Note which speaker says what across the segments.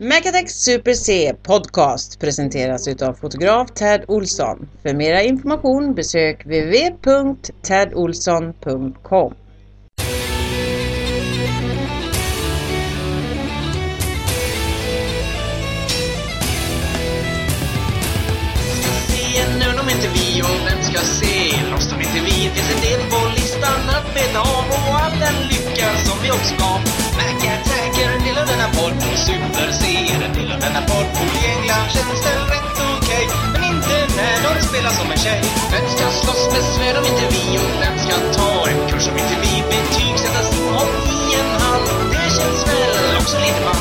Speaker 1: Megatech Super C Podcast presenteras utav fotograf Ted Olsson. För mera information besök www.tedolsson.com
Speaker 2: se nu de inte vi och vem ska se? Loss de inte vi, finns en del på listan att beta av och all den lycka som vi också gav. Mac Attack är en del av denna podd och Super C är en del av denna podd. Och i England känns det rätt okej, men inte när de spelar som en tjej. Vem ska slåss med svärd om inte vi och vem ska ta en kurs om inte vi betygsättas om i en hall? Det känns väl också lite man.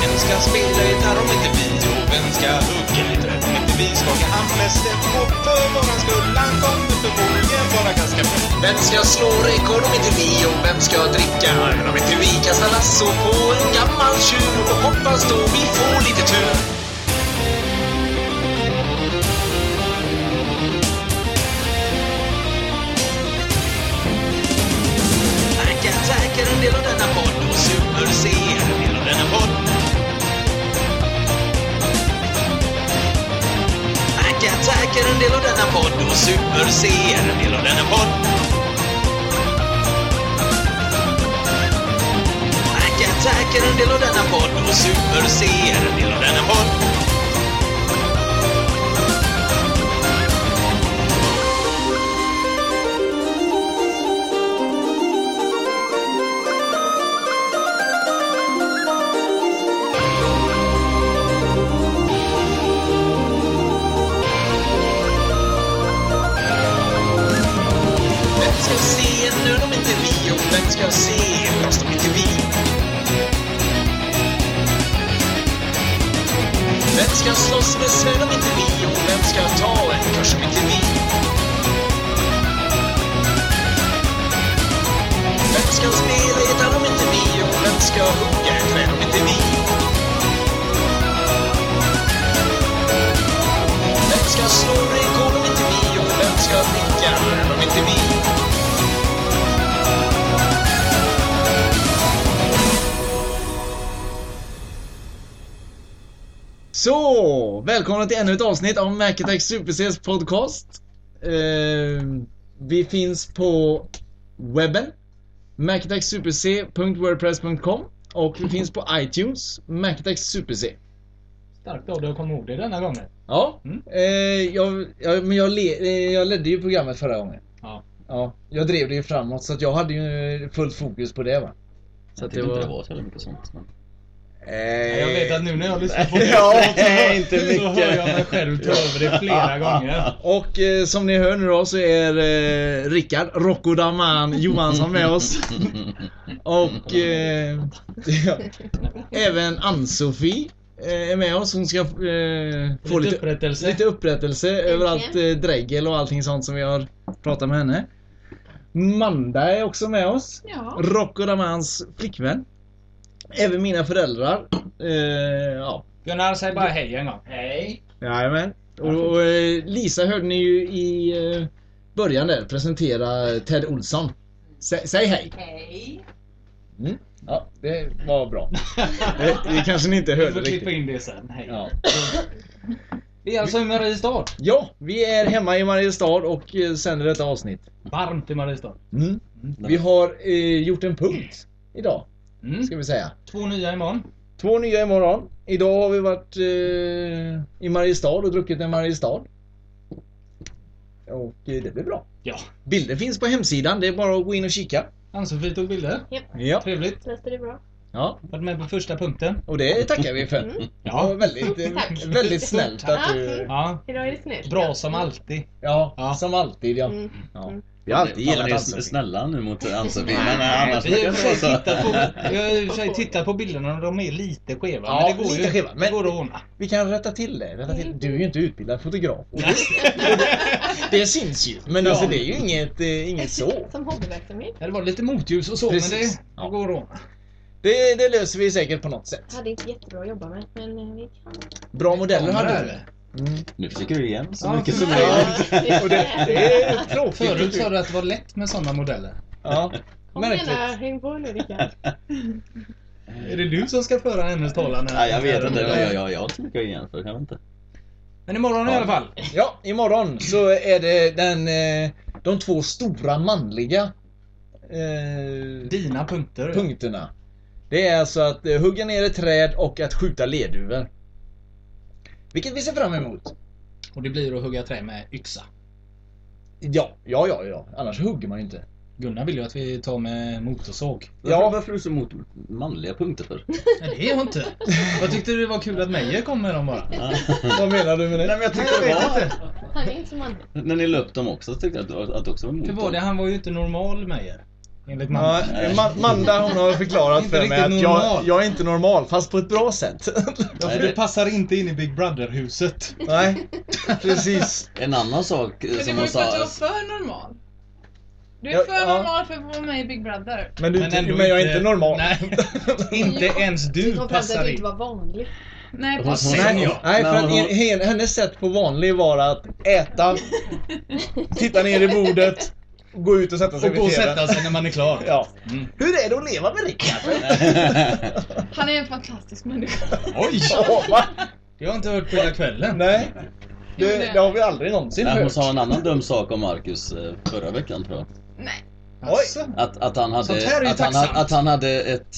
Speaker 2: Vem ska spela gitarr om inte vi? Och vem ska hugga lite om inte vi? Skaka hand med Steffo för våran skull. Han kommer förmodligen vara ganska bra. Vem ska slå rekord om inte vi? Och vem ska dricka öl om inte vi? Kasta lasso på en gammal tjur och hoppas då vi får lite tur. Verkar säker en del av denna podd och Super-C är en del av denna podd. Mac Attack är en del av denna podd och Super-C är en del av denna podd. Mac Attack är en del av denna podd och Super-C är en del av denna podd. Vem ska se nu om inte vi? Och vem ska se fast om inte vi? Vem ska slåss med svärd om inte vi? Och vem ska ta en kurs om inte vi? Vem ska spela gitarr om inte vi? Och vem ska hugga en träd om inte vi? Vem ska slå rekord om inte vi? Och vem ska dricka öl om inte vi?
Speaker 3: Så, välkomna till ännu ett avsnitt av Macattack SuperCs podcast. Eh, vi finns på webben, macattacksuperc.wordpress.com och vi finns på iTunes, Macattack SuperC.
Speaker 4: Starkt av dig att komma ihåg det denna gången.
Speaker 3: Ja,
Speaker 4: Mm.
Speaker 3: eh, jag, jag, men jag, le, eh, jag ledde ju programmet förra gången.
Speaker 4: Ja.
Speaker 3: Ja, jag drev det ju framåt så att jag hade ju fullt fokus på det va. Så
Speaker 5: jag
Speaker 3: att
Speaker 5: tyckte inte det var så jävla mycket sånt. Men...
Speaker 3: Eh,
Speaker 4: Jag vet att nu när jag lyssnar på det
Speaker 3: Ja,
Speaker 4: så, hör-
Speaker 3: inte
Speaker 4: så
Speaker 3: mycket.
Speaker 4: hör jag mig själv ta över det flera gånger.
Speaker 3: Och eh, som ni hör nu då så är eh, Rickard Rocco Daman Johansson med oss. Och eh, ja, även Ann-Sofie eh, är med oss. Hon ska eh, få
Speaker 4: Lite
Speaker 3: lite,
Speaker 4: upprättelse.
Speaker 3: lite upprättelse över allt eh, dregel och allting sånt som vi har pratat med henne. Manda är också med oss.
Speaker 6: Ja.
Speaker 3: Rocco Damans flickvän. Även mina föräldrar. Eh, ja.
Speaker 4: Gunnar, säg bara hej en gång. Hej.
Speaker 3: Jajamän. Och, och eh, Lisa hörde ni ju i eh, början där presentera Ted Olsson. Sä, säg hej! Mm.
Speaker 6: Hej.
Speaker 3: Ja, det var bra. Det, det kanske ni inte
Speaker 4: Du
Speaker 3: hörde
Speaker 4: får klippa
Speaker 3: riktigt.
Speaker 4: in det sen. Hej.
Speaker 3: Ja.
Speaker 4: Vi är alltså i Mariestad.
Speaker 3: ja, vi är hemma i Mariestad och eh, sänder detta avsnitt.
Speaker 4: Varmt i Mariestad.
Speaker 3: Mm. Vi har eh, gjort en punkt idag,
Speaker 4: Mm.
Speaker 3: ska vi säga.
Speaker 4: Två nya imorgon.
Speaker 3: Två nya imorgon. Idag har vi varit eh, i Mariestad och druckit en Mariestad. Och eh, det blir bra.
Speaker 4: Ja.
Speaker 3: Bilder finns på hemsidan, det är bara att gå in och kika.
Speaker 4: Ann-Sofie tog bilder.
Speaker 3: Ja.
Speaker 4: Trevligt.
Speaker 6: Låter det bra?
Speaker 3: Ja,
Speaker 4: Varit med på första punkten.
Speaker 3: och det tackar vi för.
Speaker 6: Mm.
Speaker 3: Ja, väldigt, eh,
Speaker 6: Tack.
Speaker 3: väldigt snällt att du...
Speaker 4: Ja,
Speaker 6: Idag är det snällt.
Speaker 4: bra som alltid.
Speaker 3: Ja,
Speaker 4: Ja.
Speaker 3: som alltid ja.
Speaker 6: Mm.
Speaker 3: ja.
Speaker 6: Mm.
Speaker 3: Vi har alltid gillat
Speaker 5: Fan, vad ni är
Speaker 3: Ann-Sofie.
Speaker 5: snälla nu mot Ann-Sofie. men annars
Speaker 4: Vi har i och för sig
Speaker 5: brukar det
Speaker 4: tittat på,
Speaker 5: vara så.
Speaker 4: jag har i och för sig tittat på bilderna och de är lite skeva.
Speaker 3: Ja,
Speaker 4: men det går
Speaker 3: lite
Speaker 4: ju,
Speaker 3: skeva, men-
Speaker 4: Det går att ordna.
Speaker 3: Vi kan rätta till det. Rätta till. Du är ju inte utbildad fotograf. det syns ju. Men
Speaker 4: Ja.
Speaker 3: alltså det är ju inget, eh, inget så.
Speaker 6: Som hobbyverksamhet.
Speaker 4: Ja, Det var lite motljus och så, men
Speaker 3: Precis.
Speaker 4: det
Speaker 3: Ja.
Speaker 4: går att ordna.
Speaker 3: Det, det löser vi säkert på något sätt.
Speaker 6: Hade inte jättebra att jobba med, men eh, vi kan.
Speaker 3: Bra modeller hade du. Mm.
Speaker 5: Nu försöker du igen så
Speaker 4: Ja,
Speaker 5: mycket som
Speaker 4: precis.
Speaker 5: möjligt.
Speaker 6: det,
Speaker 3: Och det, det är tråkigt.
Speaker 4: Förut sa du att det var lätt med sådana modeller.
Speaker 3: Ja.
Speaker 6: Kom igen
Speaker 3: Märkligt.
Speaker 6: här, häng på nu Rickard.
Speaker 4: Är det du som ska föra hennes talan? här?
Speaker 5: Nej, jag vet inte. Jag, jag, jag, jag har inte så mycket att jämföra. Jag vet inte.
Speaker 4: Men imorgon i alla fall.
Speaker 3: Ja, imorgon så är det den, eh, de två stora manliga eh,
Speaker 4: Dina punkter.
Speaker 3: punkterna. Det är alltså att eh, hugga ner ett träd och att skjuta lerduvor. Vilket vi ser fram emot.
Speaker 4: Och det blir att hugga trä med yxa.
Speaker 3: Ja, ja, ja, ja. Annars hugger man ju inte.
Speaker 4: Gunnar vill ju att vi tar med motorsåg.
Speaker 5: Varför,
Speaker 3: Ja.
Speaker 5: varför är du så emot manliga punkter för?
Speaker 4: Nej, det är jag inte. Jag tyckte det var kul att Meyer kom med dem bara.
Speaker 3: Vad menar du med det?
Speaker 5: men jag tyckte det var...
Speaker 6: Han är inte som man.
Speaker 5: När ni löpt dem också så tyckte jag att, att det också var emot
Speaker 4: Hur var det?
Speaker 5: dem.
Speaker 4: Han var ju inte normal Meyer. Enligt
Speaker 3: Ja,
Speaker 4: mamma.
Speaker 3: eh, Ma- Manda hon har förklarat
Speaker 4: Inte
Speaker 3: för mig
Speaker 4: riktigt
Speaker 3: att jag,
Speaker 4: normal.
Speaker 3: jag är inte normal, fast på ett bra sätt.
Speaker 4: Ja, för
Speaker 5: Nej, det-
Speaker 4: du passar inte in i Big Brother-huset.
Speaker 3: Nej, precis.
Speaker 5: En annan sak eh,
Speaker 7: Men det
Speaker 5: som
Speaker 7: var
Speaker 5: hon
Speaker 7: ju för att du
Speaker 5: sa...
Speaker 7: var för normal. Du är
Speaker 3: Ja,
Speaker 7: för
Speaker 3: ja.
Speaker 7: normal för att vara med i Big Brother.
Speaker 3: Men, du, men, jag är inte normal.
Speaker 4: Nej, inte ens
Speaker 6: Vi
Speaker 4: du
Speaker 6: kom fram till att
Speaker 4: passar
Speaker 6: du
Speaker 4: in.
Speaker 6: inte var vanlig.
Speaker 7: Nej,
Speaker 5: Hon-
Speaker 7: precis.
Speaker 5: hon-
Speaker 3: Nej,
Speaker 4: jag.
Speaker 3: nej för
Speaker 5: Nej,
Speaker 3: att
Speaker 5: hon-
Speaker 3: en- hen- hennes sätt på vanlig var att äta, titta ner i bordet, gå ut och sätta sig
Speaker 4: Och gå och
Speaker 3: TV:n.
Speaker 4: sätta sig när man är klar.
Speaker 3: Ja.
Speaker 4: Mm.
Speaker 3: Hur är det att leva med Rickard?
Speaker 7: Han är en fantastisk människa.
Speaker 4: Oj!
Speaker 3: Ja, va?
Speaker 4: Det har jag inte hört på hela kvällen.
Speaker 3: Nej, det,
Speaker 7: Jo, det-
Speaker 3: det har vi aldrig någonsin
Speaker 5: Nej, hon
Speaker 3: hört.
Speaker 5: sa en annan dum sak om Marcus eh, förra veckan tror jag.
Speaker 7: Nej.
Speaker 4: Alltså.
Speaker 5: Att, att, han,
Speaker 4: Sånt här är ju
Speaker 5: hade, att, han,
Speaker 4: tacksamt.
Speaker 5: hade- att han hade ett...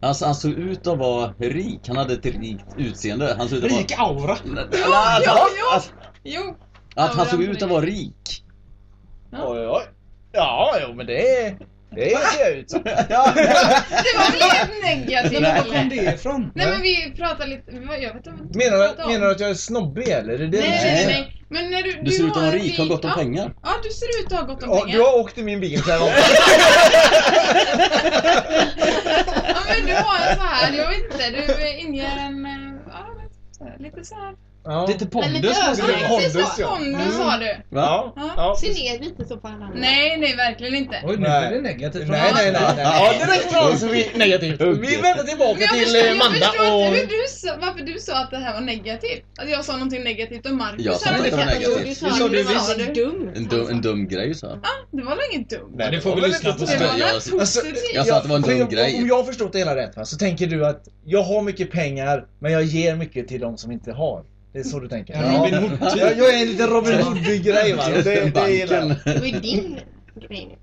Speaker 5: Alltså, han såg ut att vara rik, han hade ett rikt utseende. Han såg ut att vara...
Speaker 4: Rik aura.
Speaker 3: Ah,
Speaker 5: Att,
Speaker 7: ja,
Speaker 3: alltså,
Speaker 7: ja.
Speaker 5: att,
Speaker 7: Jo.
Speaker 5: att han såg ut att vara rik.
Speaker 3: Oj, oj. Ja, jo, men det, det ser jag ut som.
Speaker 5: Ja.
Speaker 7: Det var väl inget negativt?
Speaker 5: Nej.
Speaker 4: Var kom det ifrån?
Speaker 7: Nej men vi pratade lite, vad- jag vet inte vad vi
Speaker 3: Menar
Speaker 7: pratade
Speaker 3: du,
Speaker 7: om.
Speaker 3: menar du att jag är snobbig eller? Är det det du
Speaker 7: Nej, nej,
Speaker 3: säger?
Speaker 7: nej, nej. Men när du,
Speaker 5: Du ser ut att vara
Speaker 7: en
Speaker 5: rik, har gott om
Speaker 7: ja.
Speaker 5: pengar.
Speaker 7: Ja, du ser ut att ha gott om
Speaker 3: Ja,
Speaker 7: pengar.
Speaker 3: du har åkt i min bil flera gånger.
Speaker 7: Ja men du har en så här, jag vet inte, du inger en, eh, ja jag vet inte, lite så här.
Speaker 3: Ja.
Speaker 4: Lite
Speaker 6: Men
Speaker 4: pondus
Speaker 6: lite
Speaker 7: Ja,
Speaker 4: måste det vara.
Speaker 7: precis
Speaker 3: Pondus,
Speaker 7: så,
Speaker 3: ja.
Speaker 7: pondus
Speaker 3: Mm.
Speaker 7: har du.
Speaker 5: typ Va?
Speaker 3: Ja.
Speaker 7: Ja.
Speaker 3: ja.
Speaker 6: Se ner lite så på alla andra.
Speaker 7: Nej, nej verkligen inte.
Speaker 4: Oj, nu
Speaker 3: Nej.
Speaker 4: är det negativt. från
Speaker 3: Nej, nej, nej.
Speaker 4: alla.
Speaker 3: nej. Ja, direkt från oss är vi negativt. Vi vänder tillbaka
Speaker 7: Men jag
Speaker 3: till
Speaker 7: förstår,
Speaker 3: eh,
Speaker 7: jag
Speaker 3: Manda
Speaker 7: förstår
Speaker 3: och...
Speaker 7: inte hur du, sa- varför du sa att det här var negativt. Att jag sa någonting negativt om Marcus.
Speaker 5: Jag sa
Speaker 7: här.
Speaker 5: inte det var
Speaker 6: Jo, du
Speaker 5: negativt.
Speaker 6: sa
Speaker 4: sa
Speaker 6: det.
Speaker 4: du
Speaker 6: Du sa
Speaker 7: visst.
Speaker 6: det. Dumt.
Speaker 5: En dum, en dum grej så.
Speaker 7: Det var väl inget dumt?
Speaker 3: Nej,
Speaker 4: Det får vi
Speaker 3: var
Speaker 4: lyssna
Speaker 3: lite-
Speaker 4: på
Speaker 7: Det
Speaker 4: sen.
Speaker 7: var
Speaker 5: jag-
Speaker 7: väl
Speaker 5: alltså,
Speaker 7: positivt?
Speaker 5: jag sa att det var en
Speaker 3: för
Speaker 5: dum
Speaker 3: jag-
Speaker 5: grej.
Speaker 3: Om jag har förstått det hela rätt va, så tänker du att jag har mycket pengar, men jag ger mycket till de som inte har. Det är så du tänker?
Speaker 4: En Robin Hood-typ.
Speaker 3: Jag, jag är en liten Robin Hood-grej va, och det, det gillar jag.
Speaker 5: Banken.
Speaker 6: Det var ju din grej nu.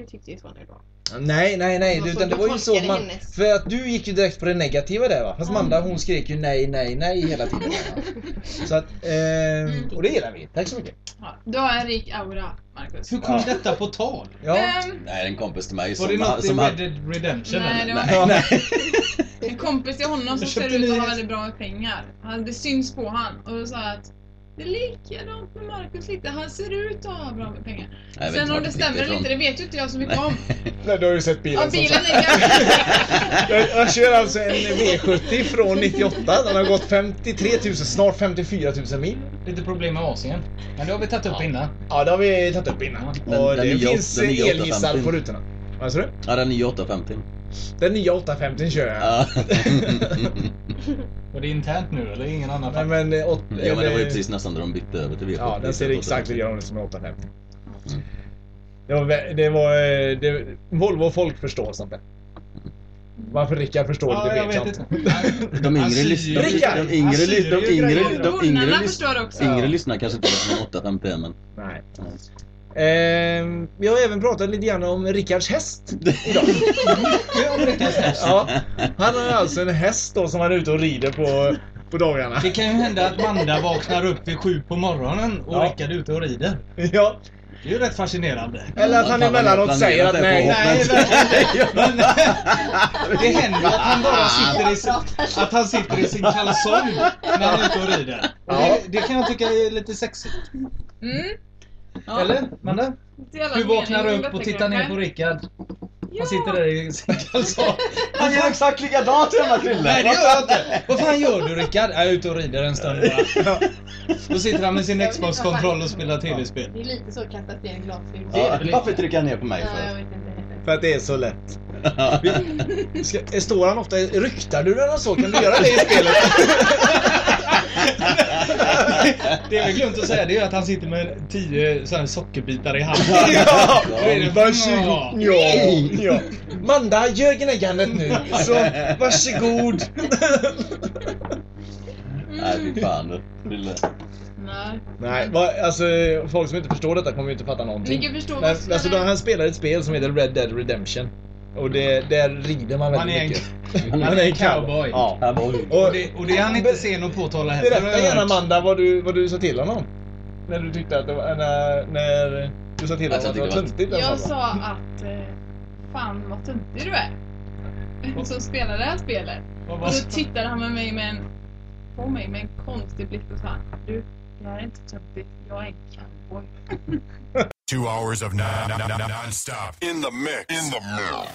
Speaker 6: Du tyckte ju Svanen var
Speaker 3: Nej, nej, nej.
Speaker 6: Det var så
Speaker 3: utan det
Speaker 6: du
Speaker 3: var ju så
Speaker 6: tolkade
Speaker 3: man...
Speaker 6: hennes.
Speaker 3: För att du gick ju direkt på det negativa där va? Fast Manda hon skrek ju nej, nej, nej hela tiden. va? Så att, ehm,
Speaker 7: Mm.
Speaker 3: och det gillar vi. Tack så mycket.
Speaker 7: Ja, Du har en rik aura, Marcus.
Speaker 4: Hur kom detta på tal?
Speaker 3: Ja.
Speaker 7: Ehm,
Speaker 5: Nej, en kompis till mig
Speaker 4: Var det
Speaker 5: som...
Speaker 4: något i
Speaker 5: som
Speaker 4: Red
Speaker 5: hade,
Speaker 4: Dead Redemption
Speaker 7: Nej, det
Speaker 4: eller?
Speaker 7: var
Speaker 5: nej, nej.
Speaker 7: en kompis till honom som
Speaker 4: Jag köpte
Speaker 7: ser ut att
Speaker 4: ny-
Speaker 7: ha väldigt bra med pengar. Han, det syns på han och då sa jag att det är likadant med Marcus lite. Han ser ut att ha bra med pengar.
Speaker 5: Jag vet
Speaker 7: Sen
Speaker 5: inte
Speaker 7: om
Speaker 5: vart
Speaker 7: det
Speaker 5: det fick
Speaker 7: stämmer eller
Speaker 5: ifrån.
Speaker 7: inte, det vet ju inte jag så mycket om.
Speaker 3: Nej, du har ju sett bilen
Speaker 7: Ja, bilen är gammal.
Speaker 3: Jag, jag kör alltså en V70 från 98. Den har gått 53 000, snart 54 000 mil.
Speaker 4: Lite problem med Asien. Men det har vi tagit upp innan.
Speaker 3: Ja, det har vi tagit upp innan.
Speaker 5: Den-
Speaker 3: och
Speaker 5: den
Speaker 3: det
Speaker 5: nya-
Speaker 3: finns
Speaker 5: den nya
Speaker 3: elgissar
Speaker 5: 850.
Speaker 3: på rutorna. Vad sa du?
Speaker 5: Ja, den nya 850.
Speaker 3: Den nya 850 kör jag.
Speaker 5: Ja.
Speaker 4: Var det internt nu eller ingen annan
Speaker 3: Nej,
Speaker 4: fatt?
Speaker 3: men, eh, åt,
Speaker 5: Ja, men det var ju
Speaker 3: eller-
Speaker 5: precis nästan när de bytte över till V70.
Speaker 3: Ja, den ser
Speaker 5: Så-
Speaker 3: exakt likadan ut som en 850.
Speaker 5: Mm.
Speaker 3: Det var, vä- det var, eh, det, Volvo och folk förstår sånt där. Varför Rickard förstår det,
Speaker 4: Ja,
Speaker 3: det
Speaker 4: jag
Speaker 3: vet jag
Speaker 4: vet
Speaker 3: inte.
Speaker 4: inte.
Speaker 5: De yngre
Speaker 4: Assyrier-
Speaker 5: lyssnar.
Speaker 3: Alltså, Rickard! Alltså,
Speaker 5: De yngre lyssnar. De
Speaker 4: Assyrier-
Speaker 5: yngre, de yngre
Speaker 7: Bonnarna
Speaker 5: lyssnar.
Speaker 7: förstår också.
Speaker 5: Yngre lyssnar kanske inte vet vad en 851 men...
Speaker 3: Nej. Ehm, vi har även pratat lite grann om Rickards häst idag. ja, han har alltså en häst då som han är ute och rider på, på dagarna.
Speaker 4: Det kan ju hända att Manda vaknar upp vid sju på morgonen och
Speaker 3: Ja.
Speaker 4: Rickard är ute och rider.
Speaker 3: Ja,
Speaker 4: Det är ju rätt fascinerande.
Speaker 3: Eller att han
Speaker 5: Fan, vad
Speaker 3: emellanåt
Speaker 5: planerat
Speaker 3: säger att
Speaker 5: det är på
Speaker 3: nej.
Speaker 5: hoppet.
Speaker 4: Nej, verkligen. Men, det händer ju att han bara sitter i sin, att han sitter i sin kalsong när han är ute och rider. Och Det, det kan jag tycka är lite sexigt.
Speaker 7: Mm. Ja,
Speaker 4: Eller? Manda?
Speaker 7: delar
Speaker 4: Du vaknar
Speaker 7: mening om
Speaker 4: upp och
Speaker 7: detta,
Speaker 4: tittar ner
Speaker 7: grabbar.
Speaker 4: på Rickard.
Speaker 7: Ja.
Speaker 4: Han sitter där i sin kalsong.
Speaker 5: Han gör exakt likadant hemma Krille!
Speaker 4: Nej det gör jag inte! Vad fan gör du Rickard? Jag är ute och rider en stund bara. Då sitter han med sin Xbox-kontroll och spelar tv-spel.
Speaker 6: Det är lite så kastat i en glasfilm.
Speaker 5: Ja, varför trycker han ner på mig
Speaker 6: Ja, jag
Speaker 5: för?
Speaker 6: vet inte.
Speaker 3: För att det är så lätt. Vi- Ska, står han ofta Ryktar du den så? Kan du göra det i spelet?
Speaker 4: Det jag har glömt att säga det är att han sitter med 10 sådana sockerbitar i handen.
Speaker 5: Ja.
Speaker 4: Då är det-
Speaker 3: Varsågod. Ja, ja. Manda, gör gnäggandet nu. Så varsågod.
Speaker 5: Nej fy fan. Krille.
Speaker 7: Nej.
Speaker 3: Nej, vad- alltså folk som inte förstår detta kommer ju inte fatta någonting.
Speaker 7: Vilken förstår
Speaker 3: Men,
Speaker 7: vad som
Speaker 3: alltså, då
Speaker 7: händer.
Speaker 3: han spelar ett spel som heter Red Dead Redemption. Och det, där rider man
Speaker 4: Han
Speaker 3: väldigt
Speaker 4: är en,
Speaker 3: mycket.
Speaker 4: han är en cowboy.
Speaker 5: Ja. här var ju-
Speaker 4: Och,
Speaker 3: Och
Speaker 4: det, och det är han inte sen att påtala heller. har
Speaker 3: berätta
Speaker 4: jag
Speaker 3: gärna
Speaker 4: hört.
Speaker 3: Amanda vad du, vad du sa till honom. När du tyckte att det var, när, när du sa till honom
Speaker 5: Alltså,
Speaker 3: att det var
Speaker 5: jag tyckte
Speaker 3: töntigt. eller
Speaker 7: Jag
Speaker 3: så.
Speaker 7: sa att eh, fan vad töntig du är. Som spelar det här spelet.
Speaker 4: Vad
Speaker 7: Och
Speaker 4: var-
Speaker 7: då tittade han med mig med en, på mig med en konstig blick och sa Du, jag är inte töntig. Jag är en cowboy.
Speaker 8: Two hours of non- non- non- non-stop. In the mix. In the mix.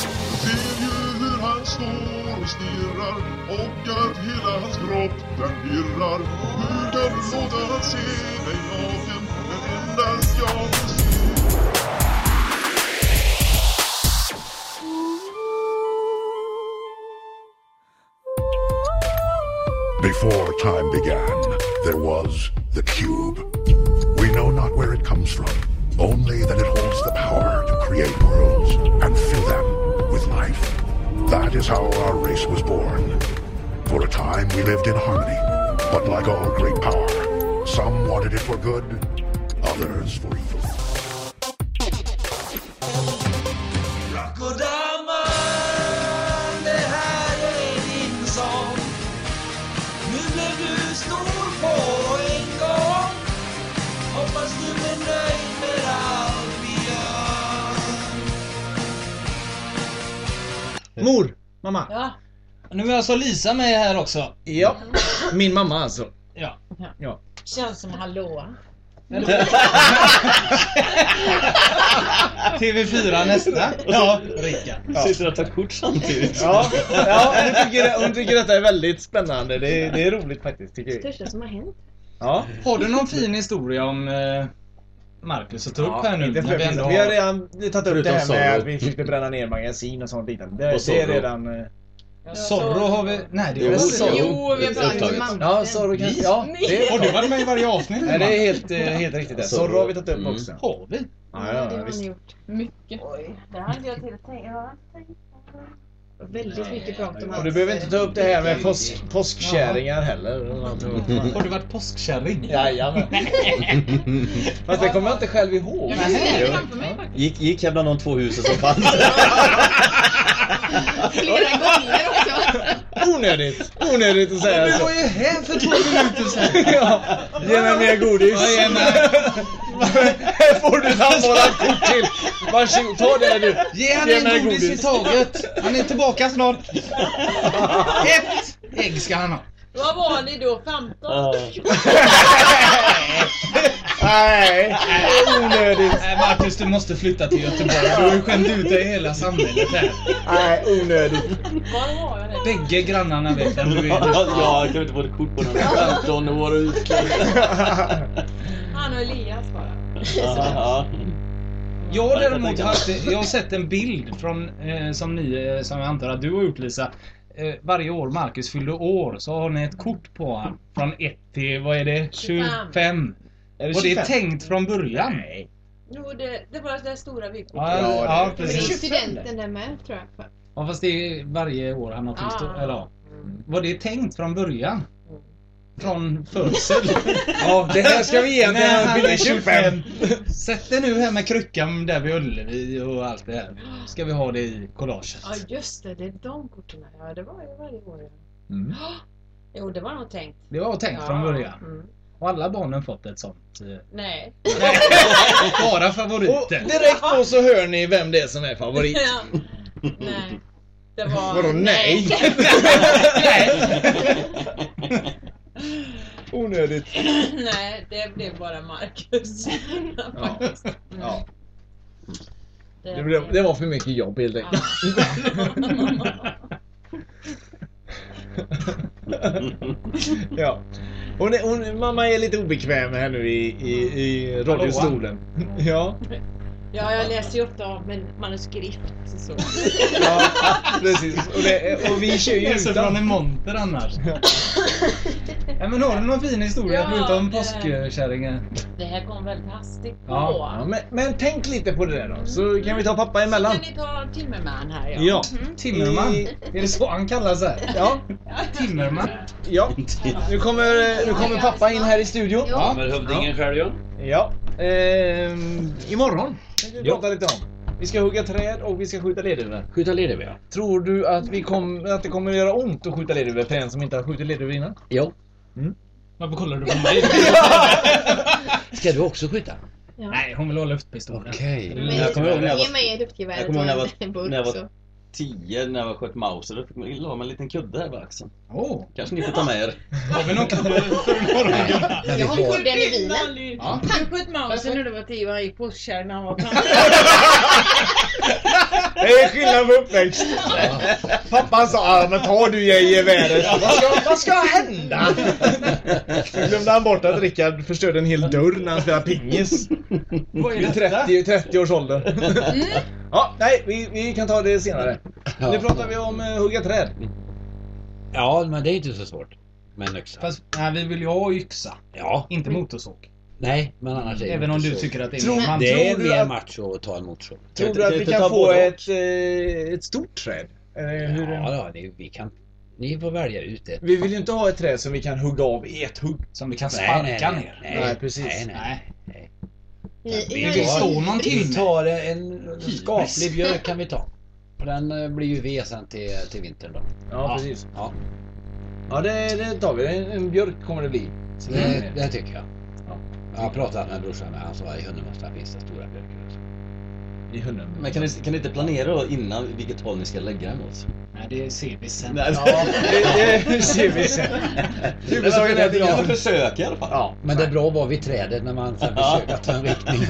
Speaker 9: Ser ju hur han står och stirrar och att hela hans kropp den virrar. Hur kan du låta han se mig naken när endast jag får se?
Speaker 8: Before time began, there was the cube. We know not where it comes from, only that it holds the power to create worlds and fill them with life. That is how our race was born. For a time, we lived in harmony, but like all great power, some wanted it for good, others for evil.
Speaker 2: Kodama, det här är din sång. Nu blev du stor på en gång. Hoppas du blir nöjd med allt vi gör.
Speaker 3: Mor! Mamma!
Speaker 7: Ja.
Speaker 4: Nu är alltså Lisa med här också.
Speaker 3: Ja. Min mamma alltså.
Speaker 4: Ja.
Speaker 6: Känns som hallå.
Speaker 4: TV4 nästa. Ja, Rickard.
Speaker 5: Sitter och tar kort samtidigt.
Speaker 3: Ja, ja hon, tycker, hon tycker detta är väldigt spännande. Det, det är roligt faktiskt tycker vi.
Speaker 6: Största som har hänt.
Speaker 3: Ja.
Speaker 4: Har du någon fin historia om eh, Marcus att ta upp här nu?
Speaker 3: inte
Speaker 4: när
Speaker 3: för,
Speaker 4: vi
Speaker 3: vi,
Speaker 4: ändå
Speaker 3: har
Speaker 4: har-
Speaker 3: redan tagit upp det
Speaker 5: Förutom
Speaker 3: här med
Speaker 5: Zorro.
Speaker 3: att vi försökte bränna ner magasin och sånt liknande. Det,
Speaker 5: Och
Speaker 3: det är
Speaker 5: Zorro.
Speaker 3: redan... eh,
Speaker 4: Zorro har vi... Nej, det
Speaker 5: Jo,
Speaker 4: har vi
Speaker 3: Zorro.
Speaker 4: inte.
Speaker 7: Jo, vi har pratat
Speaker 5: Upptaget.
Speaker 7: om mamma.
Speaker 3: Ja, Zorro kan... Ja, det,
Speaker 4: Har du varit med i varje avsnitt?
Speaker 3: nej, det är helt, eh, helt riktigt. det.
Speaker 5: Zorro.
Speaker 3: Zorro har vi tagit upp
Speaker 5: Mm.
Speaker 3: också.
Speaker 4: Har vi?
Speaker 3: Ja, ja,
Speaker 6: det har
Speaker 3: visst.
Speaker 6: ni gjort.
Speaker 7: Mycket.
Speaker 6: Det hade jag till att tänka Väldigt mycket prat om
Speaker 3: Och
Speaker 6: hans-
Speaker 3: du behöver inte ta upp det här med påsk, påskkärringar heller.
Speaker 4: Har du varit påskkärring?
Speaker 3: Jajamän. Fast det kommer jag inte själv ihåg.
Speaker 7: Jag kan se det
Speaker 5: jo.
Speaker 7: framför mig faktiskt.
Speaker 5: Gick, gick jag bland de två husen som fanns?
Speaker 7: Flera gånger också.
Speaker 3: Onödigt! Onödigt att säga så.
Speaker 4: ju här för två minuter sedan!
Speaker 3: Ja, ge mig mer godis.
Speaker 4: Ja, ge mig.
Speaker 3: Här får du sammanlagt kort till. Varsågod, ta det du.
Speaker 4: Ge han
Speaker 3: Ge
Speaker 4: en
Speaker 3: mig
Speaker 4: godis, i
Speaker 3: godis.
Speaker 4: taget! Han är tillbaka snart! Ett ägg ska han ha!
Speaker 6: Vad var ni då? 15?
Speaker 3: Nej, onödigt.
Speaker 4: Nej Marcus, du måste flytta till Göteborg. Du har ju skämt ut dig i hela samhället här.
Speaker 3: Nej, onödigt.
Speaker 6: Var har jag det?
Speaker 4: Bägge grannarna vet vem du är.
Speaker 5: Ja, jag kan inte få ett kort på den. 15 år och utklädd.
Speaker 6: Han och Elias bara.
Speaker 5: Ja,
Speaker 4: Jag har däremot haft, jag har sett en bild från, eh, som ni, eh, som jag antar att du har gjort Lisa. Eh, varje år Marcus fyllde år så har ni ett kort på honom. Från 1 till, vad är det? 25.
Speaker 3: Är
Speaker 4: Och det är
Speaker 3: 25?
Speaker 4: tänkt från början.
Speaker 3: Nej.
Speaker 6: Jo, det, det var det där stora vykortet.
Speaker 4: Ja,
Speaker 3: Ja, det är
Speaker 4: ja
Speaker 3: det.
Speaker 6: Men det är
Speaker 4: precis.
Speaker 6: studenten där med tror jag.
Speaker 4: Ja, fast det är varje år han har fyllt
Speaker 6: Ah.
Speaker 4: år. Eller ja. Var det tänkt från början? från födsel.
Speaker 5: Ja, det här ska vi ge
Speaker 4: När han
Speaker 5: när
Speaker 4: är
Speaker 5: Billy 25.
Speaker 4: 25. Sätt dig nu här med kryckan där vid Ullevi och allt det här. Ska vi ha det i collaget.
Speaker 6: Ja just det, det är de korten. Ja det var ju varje år.
Speaker 4: Mm.
Speaker 6: Jo det var nog tänkt.
Speaker 4: Det var tänkt
Speaker 6: ja.
Speaker 4: från början.
Speaker 6: Mm.
Speaker 4: Har alla barnen fått ett sånt? eh,
Speaker 6: Nej.
Speaker 4: Bara
Speaker 3: Och
Speaker 4: favoriter.
Speaker 3: direkt då så hör ni vem det är som är favorit.
Speaker 6: Ja. Nej. Det var...
Speaker 3: Vadå nej?
Speaker 5: Onödigt.
Speaker 6: Nej, det blev bara Marcus.
Speaker 3: Ja. Ja.
Speaker 6: Det,
Speaker 3: Det, blev, det var för mycket jobb helt
Speaker 6: Ja.
Speaker 3: enkelt. Ja. Hon är, hon, mamma är lite obekväm här nu i, i, i radiostolen. Ja,
Speaker 6: ja, jag läser ju ofta av min manuskript. Så.
Speaker 3: ja, precis. Och, det, och vi kör ju
Speaker 4: Läser från
Speaker 3: utan.
Speaker 4: en monter annars. ja, men har du någon fin historia
Speaker 6: Ja,
Speaker 4: förutom
Speaker 6: det-
Speaker 4: påskkärringen?
Speaker 6: Det här kom väldigt hastigt på.
Speaker 4: Ja,
Speaker 3: Ja, men, men tänk lite på det där då, så kan vi ta pappa emellan.
Speaker 6: Kan ni ta Timmerman här? Ja.
Speaker 3: Ja. Mm.
Speaker 4: Timmerman?
Speaker 3: I-
Speaker 4: Är det så han kallas här?
Speaker 3: Ja,
Speaker 4: Timmerman?
Speaker 3: ja. Nu kommer, nu kommer pappa in här i studion.
Speaker 10: Ja, men hövdingen själv ju.
Speaker 3: Ja. Ehm, imorgon tänkte vi prata lite om. Vi ska hugga träd och vi ska skjuta lerduvor.
Speaker 10: Skjuta lerduvor ja.
Speaker 3: Tror du att, vi kom, att det kommer att göra ont att skjuta lerduvor för en som inte har skjutit lerduvor innan?
Speaker 10: Jo.
Speaker 4: Varför kollar du på mig?
Speaker 10: Ska du också skjuta?
Speaker 4: Nej, hon vill ha luftpistolen.
Speaker 10: Okej.
Speaker 4: Eller
Speaker 10: Men jag kommer ihåg när jag var-
Speaker 11: Ge mig luftgeväret
Speaker 10: jag kommer ihåg när jag var-
Speaker 11: en burk
Speaker 10: när jag var-
Speaker 11: så.
Speaker 10: Tio när jag sköt Mauser, då fick man illa av mig en liten kudde här på axeln.
Speaker 5: liksom.
Speaker 4: Åh,
Speaker 10: Kanske ni får ta med er.
Speaker 4: har vi någon kudde för morgonen?
Speaker 11: Jag har kudden i bilen.
Speaker 4: Ja.
Speaker 7: Han sköt mausen när du var tio och han gick påskkärring när han var fem.
Speaker 3: Det är skillnad på uppväxt. Pappan sa ah, men tar du geväret. vad, ska, vad ska hända? Nu glömde han bort att Rickard förstörde en hel dörr när han spelade pingis.
Speaker 4: Vad Mm.
Speaker 3: Vid 30, 30 års ålder. Ja, nej, vi, vi kan ta det senare. Nu pratar vi om eh, hugga träd.
Speaker 5: Ja, men det är inte så svårt. Med en yxa.
Speaker 4: Fast, nej, vi vill ju ha yxa.
Speaker 5: Ja,
Speaker 4: Inte motorsåg.
Speaker 5: nej, men annars är det
Speaker 4: Även
Speaker 5: inte
Speaker 4: om du
Speaker 5: så.
Speaker 4: tycker att det
Speaker 3: Tror-
Speaker 4: är man
Speaker 5: Det är
Speaker 3: Tror du
Speaker 5: mer
Speaker 3: att-
Speaker 5: macho att ta en motorsåg.
Speaker 3: Tror
Speaker 10: Kan
Speaker 3: du
Speaker 10: jag
Speaker 3: att
Speaker 10: inte- kan
Speaker 3: vi
Speaker 10: jag
Speaker 3: kan
Speaker 10: ta
Speaker 3: få
Speaker 10: båda?
Speaker 3: ett, eh, ett stort träd? Eller hur?
Speaker 5: Ja, ja ni, vi kan, ni får välja ut det.
Speaker 3: Vi vill ju inte ha ett träd som vi kan hugga av i ett hugg.
Speaker 4: som vi kan sparka ner.
Speaker 5: Nej,
Speaker 3: Nej, precis.
Speaker 5: Nej, nej.
Speaker 4: Nej.
Speaker 11: Ni-
Speaker 5: Vi
Speaker 11: ni har
Speaker 4: Det
Speaker 11: ju-
Speaker 4: står någon
Speaker 5: Vi
Speaker 4: timme.
Speaker 5: tar en skaplig björk kan vi ta. För den eh, blir ju ved sen till, till vintern då.
Speaker 3: Ja,
Speaker 5: Ja.
Speaker 3: precis.
Speaker 5: Ja,
Speaker 3: Ja, det, det tar vi. En, en björk kommer det bli. Så det är
Speaker 5: det,
Speaker 3: det.
Speaker 5: Mm, det tycker jag.
Speaker 3: Ja.
Speaker 5: Jag har pratat med brorsan, han sa i Hunnemossa finns det stora björkar. också.
Speaker 3: I hunden.
Speaker 10: Men kan ni, kan ni inte planera då innan vilket håll ni ska lägga den åt?
Speaker 4: Nej, det ser vi sen.
Speaker 10: Nej.
Speaker 3: Ja, det, det ser vi sen. Huvudsaken är att
Speaker 10: Vi kan väl
Speaker 3: jag...
Speaker 10: försöka i alla fall.
Speaker 3: Ja,
Speaker 5: Men det är bra att vara vid trädet när man sen försöker ta en riktning.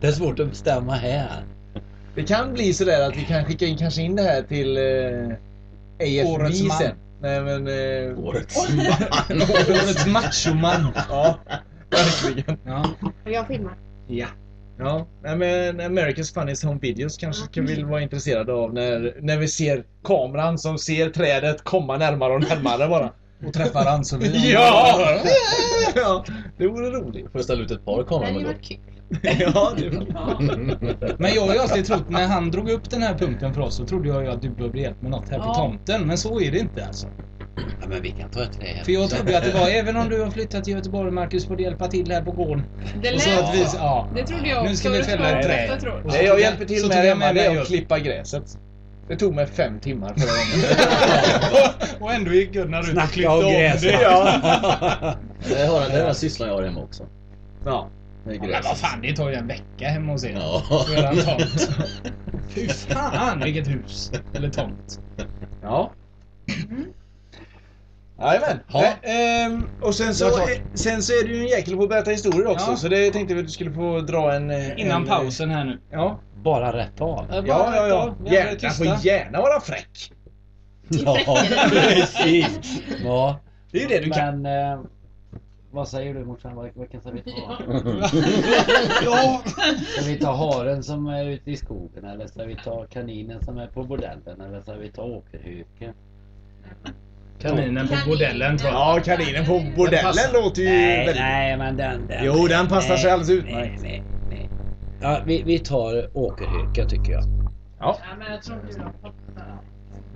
Speaker 5: Det är svårt att bestämma här.
Speaker 3: det kan bli sådär att vi kan skicka in, kanske in det här till eh, AFB
Speaker 4: Årets man.
Speaker 3: sen. Nej men... Eh,
Speaker 10: Årets
Speaker 4: Årets machoman.
Speaker 3: ja, verkligen.
Speaker 4: Ja.
Speaker 11: Jag filmar.
Speaker 4: ja.
Speaker 3: Ja, nej men America's Funniest Home Videos kanske kan vill vara intresserade av när, när vi ser kameran som ser trädet komma närmare och närmare bara.
Speaker 4: Och träffar Ann-Sofie.
Speaker 3: Ja! ja! Det vore roligt.
Speaker 10: Får jag ställa ut ett par kameror med
Speaker 11: Det
Speaker 10: då?
Speaker 11: var kul.
Speaker 3: Ja, det var...
Speaker 4: Men jag har ju alltid trott, när han drog upp den här punkten för oss så trodde jag ju att du behövde hjälp med något här på
Speaker 7: Ja.
Speaker 4: tomten. Men så är det inte alltså.
Speaker 5: Ja, men vi kan ta ett träd.
Speaker 4: För jag trodde att det var, även om du har flyttat till Göteborg Marcus, får du hjälpa till här på gården.
Speaker 7: Det
Speaker 4: Och så
Speaker 7: lät
Speaker 4: att vi, ja.
Speaker 7: Det trodde jag
Speaker 4: Nu ska vi
Speaker 7: också.
Speaker 4: fälla
Speaker 7: Det
Speaker 4: ett
Speaker 7: var
Speaker 4: träd.
Speaker 7: jag tror.
Speaker 3: Nej, jag hjälper till
Speaker 4: Så
Speaker 3: med
Speaker 4: tog jag
Speaker 3: hemma
Speaker 4: med mig
Speaker 3: det är att
Speaker 4: just-
Speaker 3: klippa gräset. Det tog mig fem timmar förra gången.
Speaker 4: Och ändå gick Gunnar ut och klippte
Speaker 5: Snacka om
Speaker 4: om
Speaker 5: gräs.
Speaker 4: det.
Speaker 10: Det har- det är den sysslan jag har hemma också.
Speaker 3: Ja.
Speaker 10: Det är
Speaker 4: Men vad fan, det tar ju en vecka hemma hos er.
Speaker 10: Ja.
Speaker 4: För en tomt. Fy fan vilket hus. Eller tomt.
Speaker 3: Ja. Jajamän.
Speaker 10: Ja.
Speaker 3: Eh, ehm, och sen så,
Speaker 10: Det var klart.
Speaker 3: eh, sen så är du ju en jäkel på att berätta historier också
Speaker 4: Ja.
Speaker 3: så det tänkte vi att du skulle få dra en... eh,
Speaker 4: Innan
Speaker 3: en,
Speaker 4: pausen här nu.
Speaker 3: Ja,
Speaker 5: Bara rätt av.
Speaker 4: Ja,
Speaker 3: ja, ja. ja. Gärna,
Speaker 4: Jävlar,
Speaker 3: får gärna vara fräck.
Speaker 5: Ja, precis. Ja.
Speaker 3: Det är ju det du kan.
Speaker 5: Men eh, vad säger du morsan? Vad- Vilken ska vi ta?
Speaker 4: Ja.
Speaker 5: Ska vi ta haren som är ute i skogen eller ska vi ta kaninen som är på bordellen eller ska vi ta åkerhyken?
Speaker 4: Kaninen på bordellen tror jag.
Speaker 3: Ja, kaninen på bordellen
Speaker 4: passar.
Speaker 3: låter ju
Speaker 5: Nej,
Speaker 3: väldigt...
Speaker 5: nej men den, den
Speaker 3: Jo, den passar
Speaker 5: nej,
Speaker 3: sig alldeles
Speaker 5: Nej,
Speaker 3: utmärkt.
Speaker 5: nej, nej. Ja, vi, vi tar åkerhyken tycker jag.
Speaker 7: Ja, men jag tror inte du har fått det.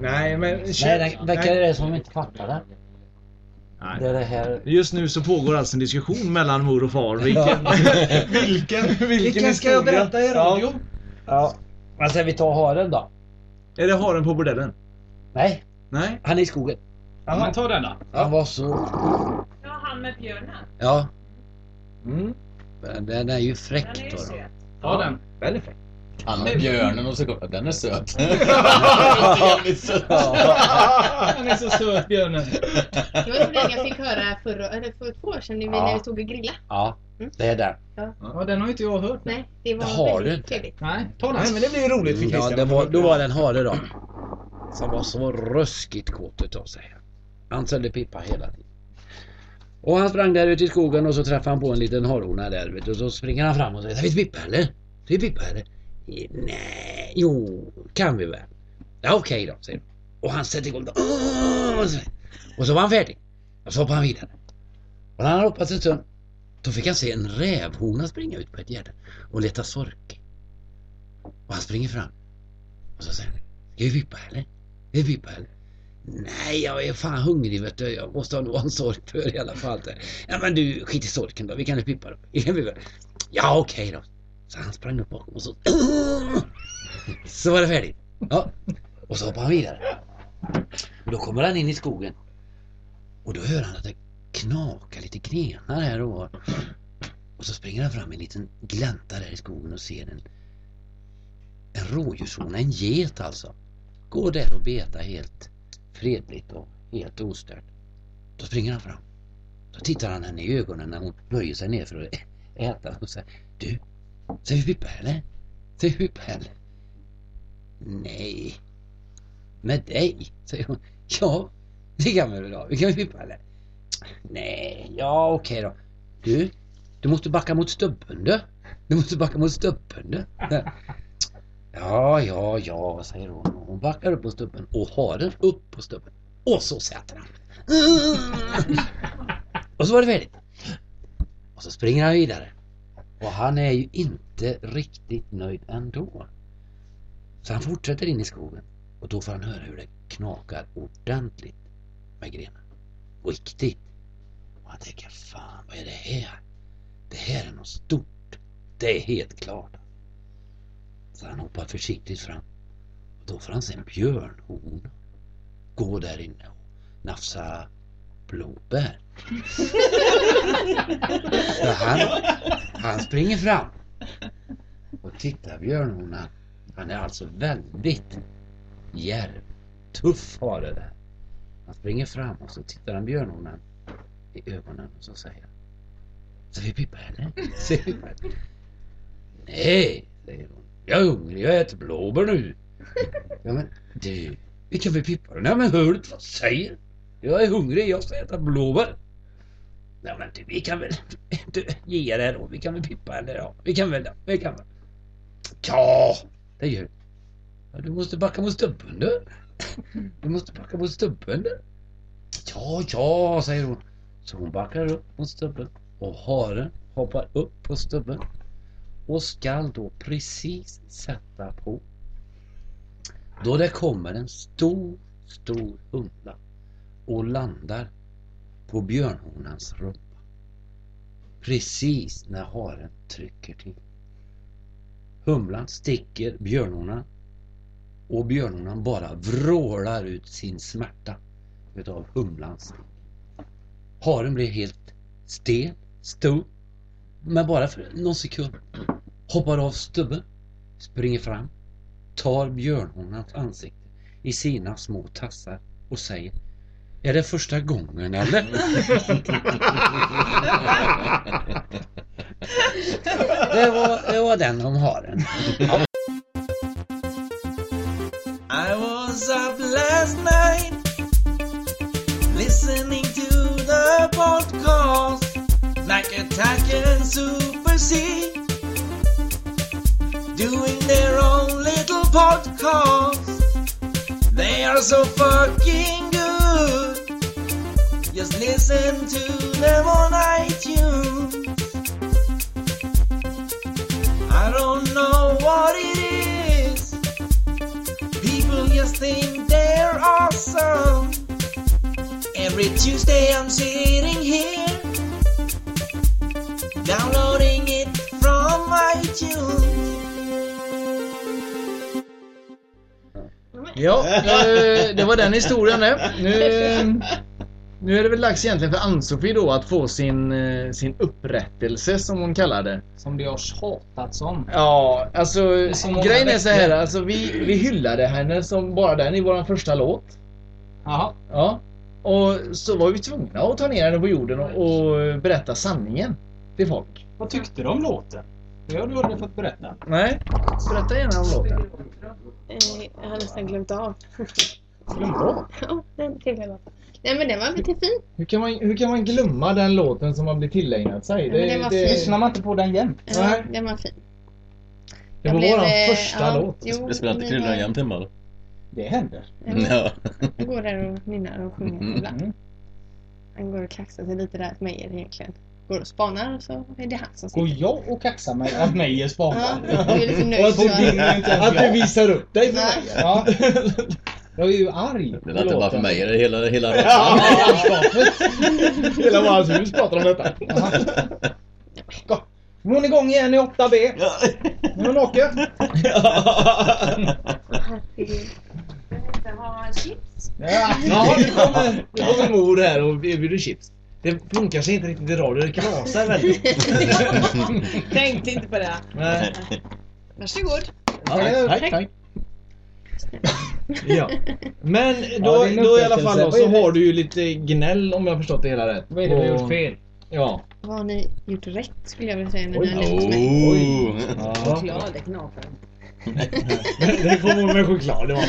Speaker 3: Nej, men...
Speaker 5: Nej, den, verkar det som vi inte fattar den?
Speaker 3: Det är det här...
Speaker 4: Just nu så pågår alltså en diskussion mellan mor och far. Vilken, vilken,
Speaker 3: Vilken ska jag berätta i radio? Ja. Men ska vi ta haren då?
Speaker 4: Är det haren på bordellen?
Speaker 3: Nej,
Speaker 4: Nej?
Speaker 3: han är i skogen.
Speaker 12: Ja, men ta den då.
Speaker 3: Han var så...
Speaker 7: Ja, han med björnen.
Speaker 3: Ja. Mm. Men Den är ju fräck
Speaker 7: Den är ju
Speaker 3: då. då.
Speaker 7: söt.
Speaker 12: Ta den.
Speaker 3: Väldigt fräck.
Speaker 5: Han har björnen och så går den är söt.
Speaker 12: Han är så söt björnen.
Speaker 6: Det var den jag fick höra förra, eller för två år sedan när vi,
Speaker 3: Ja.
Speaker 6: när vi tog och grillade.
Speaker 3: Ja, det är den.
Speaker 12: Ja, den har inte jag hört.
Speaker 6: Nej, det var
Speaker 3: Det har du
Speaker 6: väldigt
Speaker 3: inte.
Speaker 6: trevligt.
Speaker 12: Nej, ta den.
Speaker 4: Nej men det blir ju roligt för
Speaker 3: Ja,
Speaker 4: Christian.
Speaker 3: det var, då var det en hare då. Som var så ruskigt kåt utav sig. Han sålde pipa hela tiden. Och han sprang där ute i skogen och så träffade han på en liten harhona där vet du. Och så springer han fram och säger, ska vi pippa eller? Ska vi pippa eller? Eh, Nej, jo, kan vi väl. Ja okej då, säger han. Och han sätter igång då. "Åh!" Och så- Och så var han färdig. Och så hoppade han vidare. Och när han hade hoppat en stund, då fick han se en rävhona springa ut på ett gärde och leta sork. Och han springer fram. Och så säger han, ska vi vippa eller? Ska vi vippa eller? Nej, jag är fan hungrig vet du. Jag måste ha någon sork för i alla fall. Ja men du, skit i sorken då. Vi kan ju vippa då. Vi kan vippa. Ja okej då. Så han sprang upp bakom och så... Så var det färdigt. Ja. Och så hoppade han vidare. Och då kommer han in i skogen. Och då hör han att det knakar lite grenar här och var. Och så springer han fram i en liten glänta där i skogen och ser en en rådjurshona, en get alltså, går där och betar helt fredligt och helt ostört. Då springer han fram. Då tittar han henne i ögonen när hon böjer sig ner för att ä- äta och säger Du, ska vi pippa eller? Ska vi pippa eller? Nej. Med dig? säger hon. Ja, det kan vi väl ha. Vi kan väl pippa eller? Nej, ja okej då. Du, du måste backa mot stubben du. Du måste backa mot stubben du. Ja, ja, ja, säger hon. Hon backar upp på stubben och har den upp på stubben. Och så sätter han. Och så var det färdigt. Och så springer han vidare. Och han är ju inte riktigt nöjd ändå. Så han fortsätter in i skogen. Och då får han höra hur det knakar ordentligt med grenen. Riktigt. Och han tänker, fan vad är det här? Det här är något stort. Det är helt klart. Så han hoppar försiktigt fram. Och då får han se en björnhona gå där inne och nafsa blåbär. Så han, han springer fram. Och titta björnhonan. Han är alltså väldigt djärv. Tuff har det där. Han springer fram och så tittar han björnhonan i ögonen och så säger han. Ska vi pippa eller? Ska vi pippa? Nej, säger hon. Jag är hungrig, jag äter blåbär nu. Ja men du, vi kan väl pippa då? Nej men hör du inte vad jag säger? Jag är hungrig, jag ska äta blåbär. Nej men du, vi kan väl du, ge er det då? Vi kan väl pippa eller ja, vi kan väl, vi kan väl. Ja, det gör vi. ja, du. måste backa mot stubben du. Du måste backa mot stubben du. Ja, ja, säger hon. Så hon backar upp mot stubben och haren hoppar upp på stubben och skall då precis sätta på. Då det kommer en stor, stor humla och landar på björnhonans rumpa. Precis när haren trycker till. Humlan sticker björnhonan och björnhonan bara vrålar ut sin smärta utav humlans stick. Haren blir helt stel, stum, men bara för någon sekund hoppar av stubben, springer fram, tar björnhonans ansikte i sina små tassar och säger Är det första gången eller? det, var, det var den om haren.
Speaker 2: I was up last night listening to the podcast like Attack and Super C doing their own little podcast. They are so fucking good. Just listen to them on iTunes. I don't know what it is. People just think they're awesome. Every Tuesday I'm sitting here Downloading it from iTunes
Speaker 3: Ja, eh, det var den historien det. Nu, nu är det väl dags egentligen för Ann-Sofie då att få sin, eh, sin upprättelse som hon kallar det.
Speaker 4: Som det har tjatats om.
Speaker 3: Ja, alltså
Speaker 4: Så många
Speaker 3: grejen är så här.
Speaker 4: veckor.
Speaker 3: Alltså, vi, vi hyllade henne som bara den i vår första låt.
Speaker 4: Jaha.
Speaker 3: Ja. Och så var vi tvungna att ta ner henne på jorden och, och berätta sanningen till folk.
Speaker 4: Vad tyckte du om låten? Det har du aldrig fått berätta.
Speaker 3: Nej, berätta gärna om låten.
Speaker 6: Eh, Jag har nästan glömt av.
Speaker 3: Glömt av?
Speaker 6: Ja, den trevliga låten. Nej men den var lite fin.
Speaker 3: Hur kan, man, hur kan man glömma den låten som man blir tillägnad sig?
Speaker 6: Ja, men den var fin. Lyssnar
Speaker 4: man inte på den jämt?
Speaker 6: Ja, den var fin.
Speaker 3: Det var
Speaker 6: Jag blev,
Speaker 3: våran
Speaker 6: eh,
Speaker 3: första
Speaker 6: ja,
Speaker 3: låt.
Speaker 6: jo,
Speaker 5: Vi spelar inte
Speaker 6: men
Speaker 5: kryddan
Speaker 6: jag-
Speaker 5: jämt hemma eller?
Speaker 4: Det händer.
Speaker 6: Mm.
Speaker 5: Ja.
Speaker 6: Jag går där och nynnar och sjunger
Speaker 5: Mm.
Speaker 6: ibland. Han går och klaxar sig lite där åt mig egentligen. Går och spanar och så är det han som sitter.
Speaker 4: Går jag och kaxar mig att mig är
Speaker 6: Ja,
Speaker 4: spanaren?
Speaker 6: jag är lite nöjd
Speaker 3: Alltså,
Speaker 4: Och att du
Speaker 6: så här.
Speaker 4: vinner inte ens
Speaker 3: Att du
Speaker 4: jag.
Speaker 3: visar upp dig för mig.
Speaker 4: Ja. Jag är ju arg.
Speaker 5: Det är inte bara för mig, det är hela... hela
Speaker 4: Ja,
Speaker 3: Hela vårt hus pratar om detta.
Speaker 4: Gå. Nu är hon igång igen i 8B. Nu är hon åker.
Speaker 13: inte ha chips.
Speaker 4: Ja,
Speaker 3: Ja, nu kommer, nu kommer mor här och erbjuder chips. Det funkar sig inte riktigt i radio, det knasar väldigt.
Speaker 1: Tänkte inte på det.
Speaker 3: Nej.
Speaker 1: Varsågod.
Speaker 3: Tack, tack. Ja. Men
Speaker 4: Ja,
Speaker 3: då,
Speaker 4: det är en
Speaker 3: då i alla
Speaker 4: upprättelse.
Speaker 3: fall då,
Speaker 4: Vad är
Speaker 3: så
Speaker 4: det?
Speaker 3: har du ju lite gnäll om jag har förstått det hela rätt.
Speaker 4: Vad är det vi har
Speaker 3: Och-
Speaker 4: gjort fel?
Speaker 3: Ja.
Speaker 6: Vad har ni gjort rätt skulle jag vilja säga när
Speaker 3: Oj.
Speaker 6: ni har nämnt mig.
Speaker 3: ja.
Speaker 1: Chokladknapen.
Speaker 3: Det kom hon med choklad, det var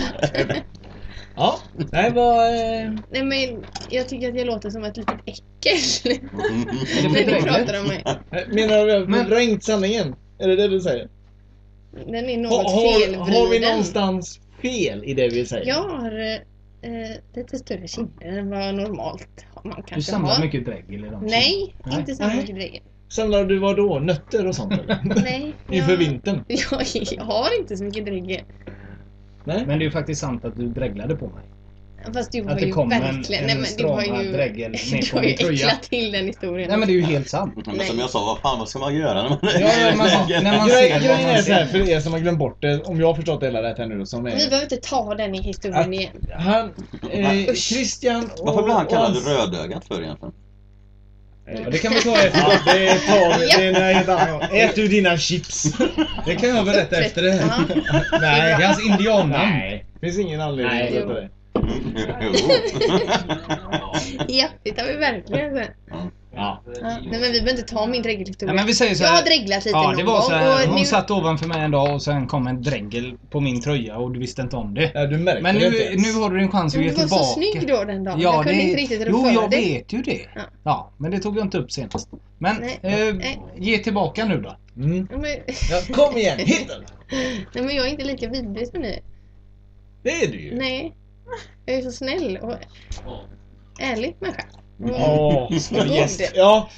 Speaker 3: Ja, nej vad... eh,
Speaker 6: Nej men jag tycker att jag låter som ett litet äckel.
Speaker 3: det
Speaker 6: När ni
Speaker 3: blir
Speaker 6: pratar om mig.
Speaker 3: Menar du att vi har drängt sanningen? Är det det du säger?
Speaker 6: Den är
Speaker 3: Har,
Speaker 6: något
Speaker 3: har, har vi
Speaker 6: felvriden.
Speaker 3: någonstans fel i det vi säger?
Speaker 6: Jag har eh, lite större kinder än vad normalt man
Speaker 4: Du
Speaker 6: kanske
Speaker 4: samlar
Speaker 6: har.
Speaker 4: mycket dregel i dem.
Speaker 6: Nej, inte så
Speaker 3: Nej.
Speaker 6: mycket dregel.
Speaker 3: Samlar du vad då? Nötter och sånt eller?
Speaker 6: Nej,
Speaker 3: Inför
Speaker 6: jag,
Speaker 3: vintern?
Speaker 6: jag, jag har inte så mycket dregel.
Speaker 4: Men det är ju faktiskt sant att du dreglade på mig.
Speaker 6: Fast du var
Speaker 4: det
Speaker 6: ju
Speaker 4: kom en-
Speaker 6: verkligen...
Speaker 4: en
Speaker 6: nej men du har
Speaker 4: stramad
Speaker 6: ju...
Speaker 4: dregel ner
Speaker 6: Du
Speaker 4: på
Speaker 6: har ju
Speaker 4: min tröja.
Speaker 6: äcklat till den historien.
Speaker 4: Nej men det är ju helt sant.
Speaker 5: Men som jag sa, vad fan vad ska man göra när man...
Speaker 4: Ja, men man- när man ser
Speaker 3: Grej-
Speaker 4: vad
Speaker 3: Grejen
Speaker 4: man
Speaker 3: är så här,
Speaker 4: ser.
Speaker 3: för er som har glömt bort det, om jag har förstått det hela rätt här nu då, som är...
Speaker 6: Vi behöver inte ta den i historien
Speaker 3: Att-
Speaker 4: Äh,
Speaker 6: igen.
Speaker 3: Han, eh, Christian och...
Speaker 5: Varför blir han
Speaker 3: och
Speaker 5: kallad
Speaker 3: hans-
Speaker 5: rödögat för egentligen?
Speaker 4: Ja, det kan vi ta efter.
Speaker 3: Ja, det tar vi. Det är en helt annan gång. Ät du dina chips.
Speaker 4: Det kan jag berätta efter det här.
Speaker 6: Ja.
Speaker 4: Nej, det är hans indiannamn.
Speaker 3: Nej. Finns ingen anledning
Speaker 4: Nej.
Speaker 3: att berätta det.
Speaker 5: Jo.
Speaker 6: ja, det tar vi verkligen sen.
Speaker 4: Ja.
Speaker 6: Ja. Nej men vi behöver inte ta min dregelhistoria.
Speaker 4: Nej, men vi säger så
Speaker 6: jag
Speaker 4: här.
Speaker 6: har dreglat lite
Speaker 4: Ja,
Speaker 6: någon
Speaker 4: det var så
Speaker 6: gång.
Speaker 4: här.
Speaker 6: och
Speaker 4: Hon
Speaker 6: nu...
Speaker 4: satt ovanför mig en dag och sen kom en dregel på min tröja och du visste inte om det.
Speaker 3: Ja, du märker
Speaker 4: Men
Speaker 3: det
Speaker 4: nu,
Speaker 3: inte ens.
Speaker 4: nu har du en chans att
Speaker 6: Men
Speaker 4: ge
Speaker 6: du var
Speaker 4: tillbaka.
Speaker 6: så snygg då den dagen. jag kunde inte riktigt rå
Speaker 4: Jo,
Speaker 6: för
Speaker 4: jag
Speaker 6: det.
Speaker 4: vet ju det.
Speaker 6: Ja.
Speaker 4: Ja. men det tog jag inte upp senast. Men
Speaker 6: Nej.
Speaker 4: eh,
Speaker 6: Nej.
Speaker 4: ge tillbaka nu då.
Speaker 3: Mm.
Speaker 6: Ja, men...
Speaker 3: Ja, kom igen, hit den!
Speaker 6: Nej men jag är inte lika vidrig som ni är.
Speaker 3: Det är du ju!
Speaker 6: Nej. Jag är så snäll och ärlig människa.
Speaker 3: Åh,
Speaker 6: God.
Speaker 3: yes. Ja,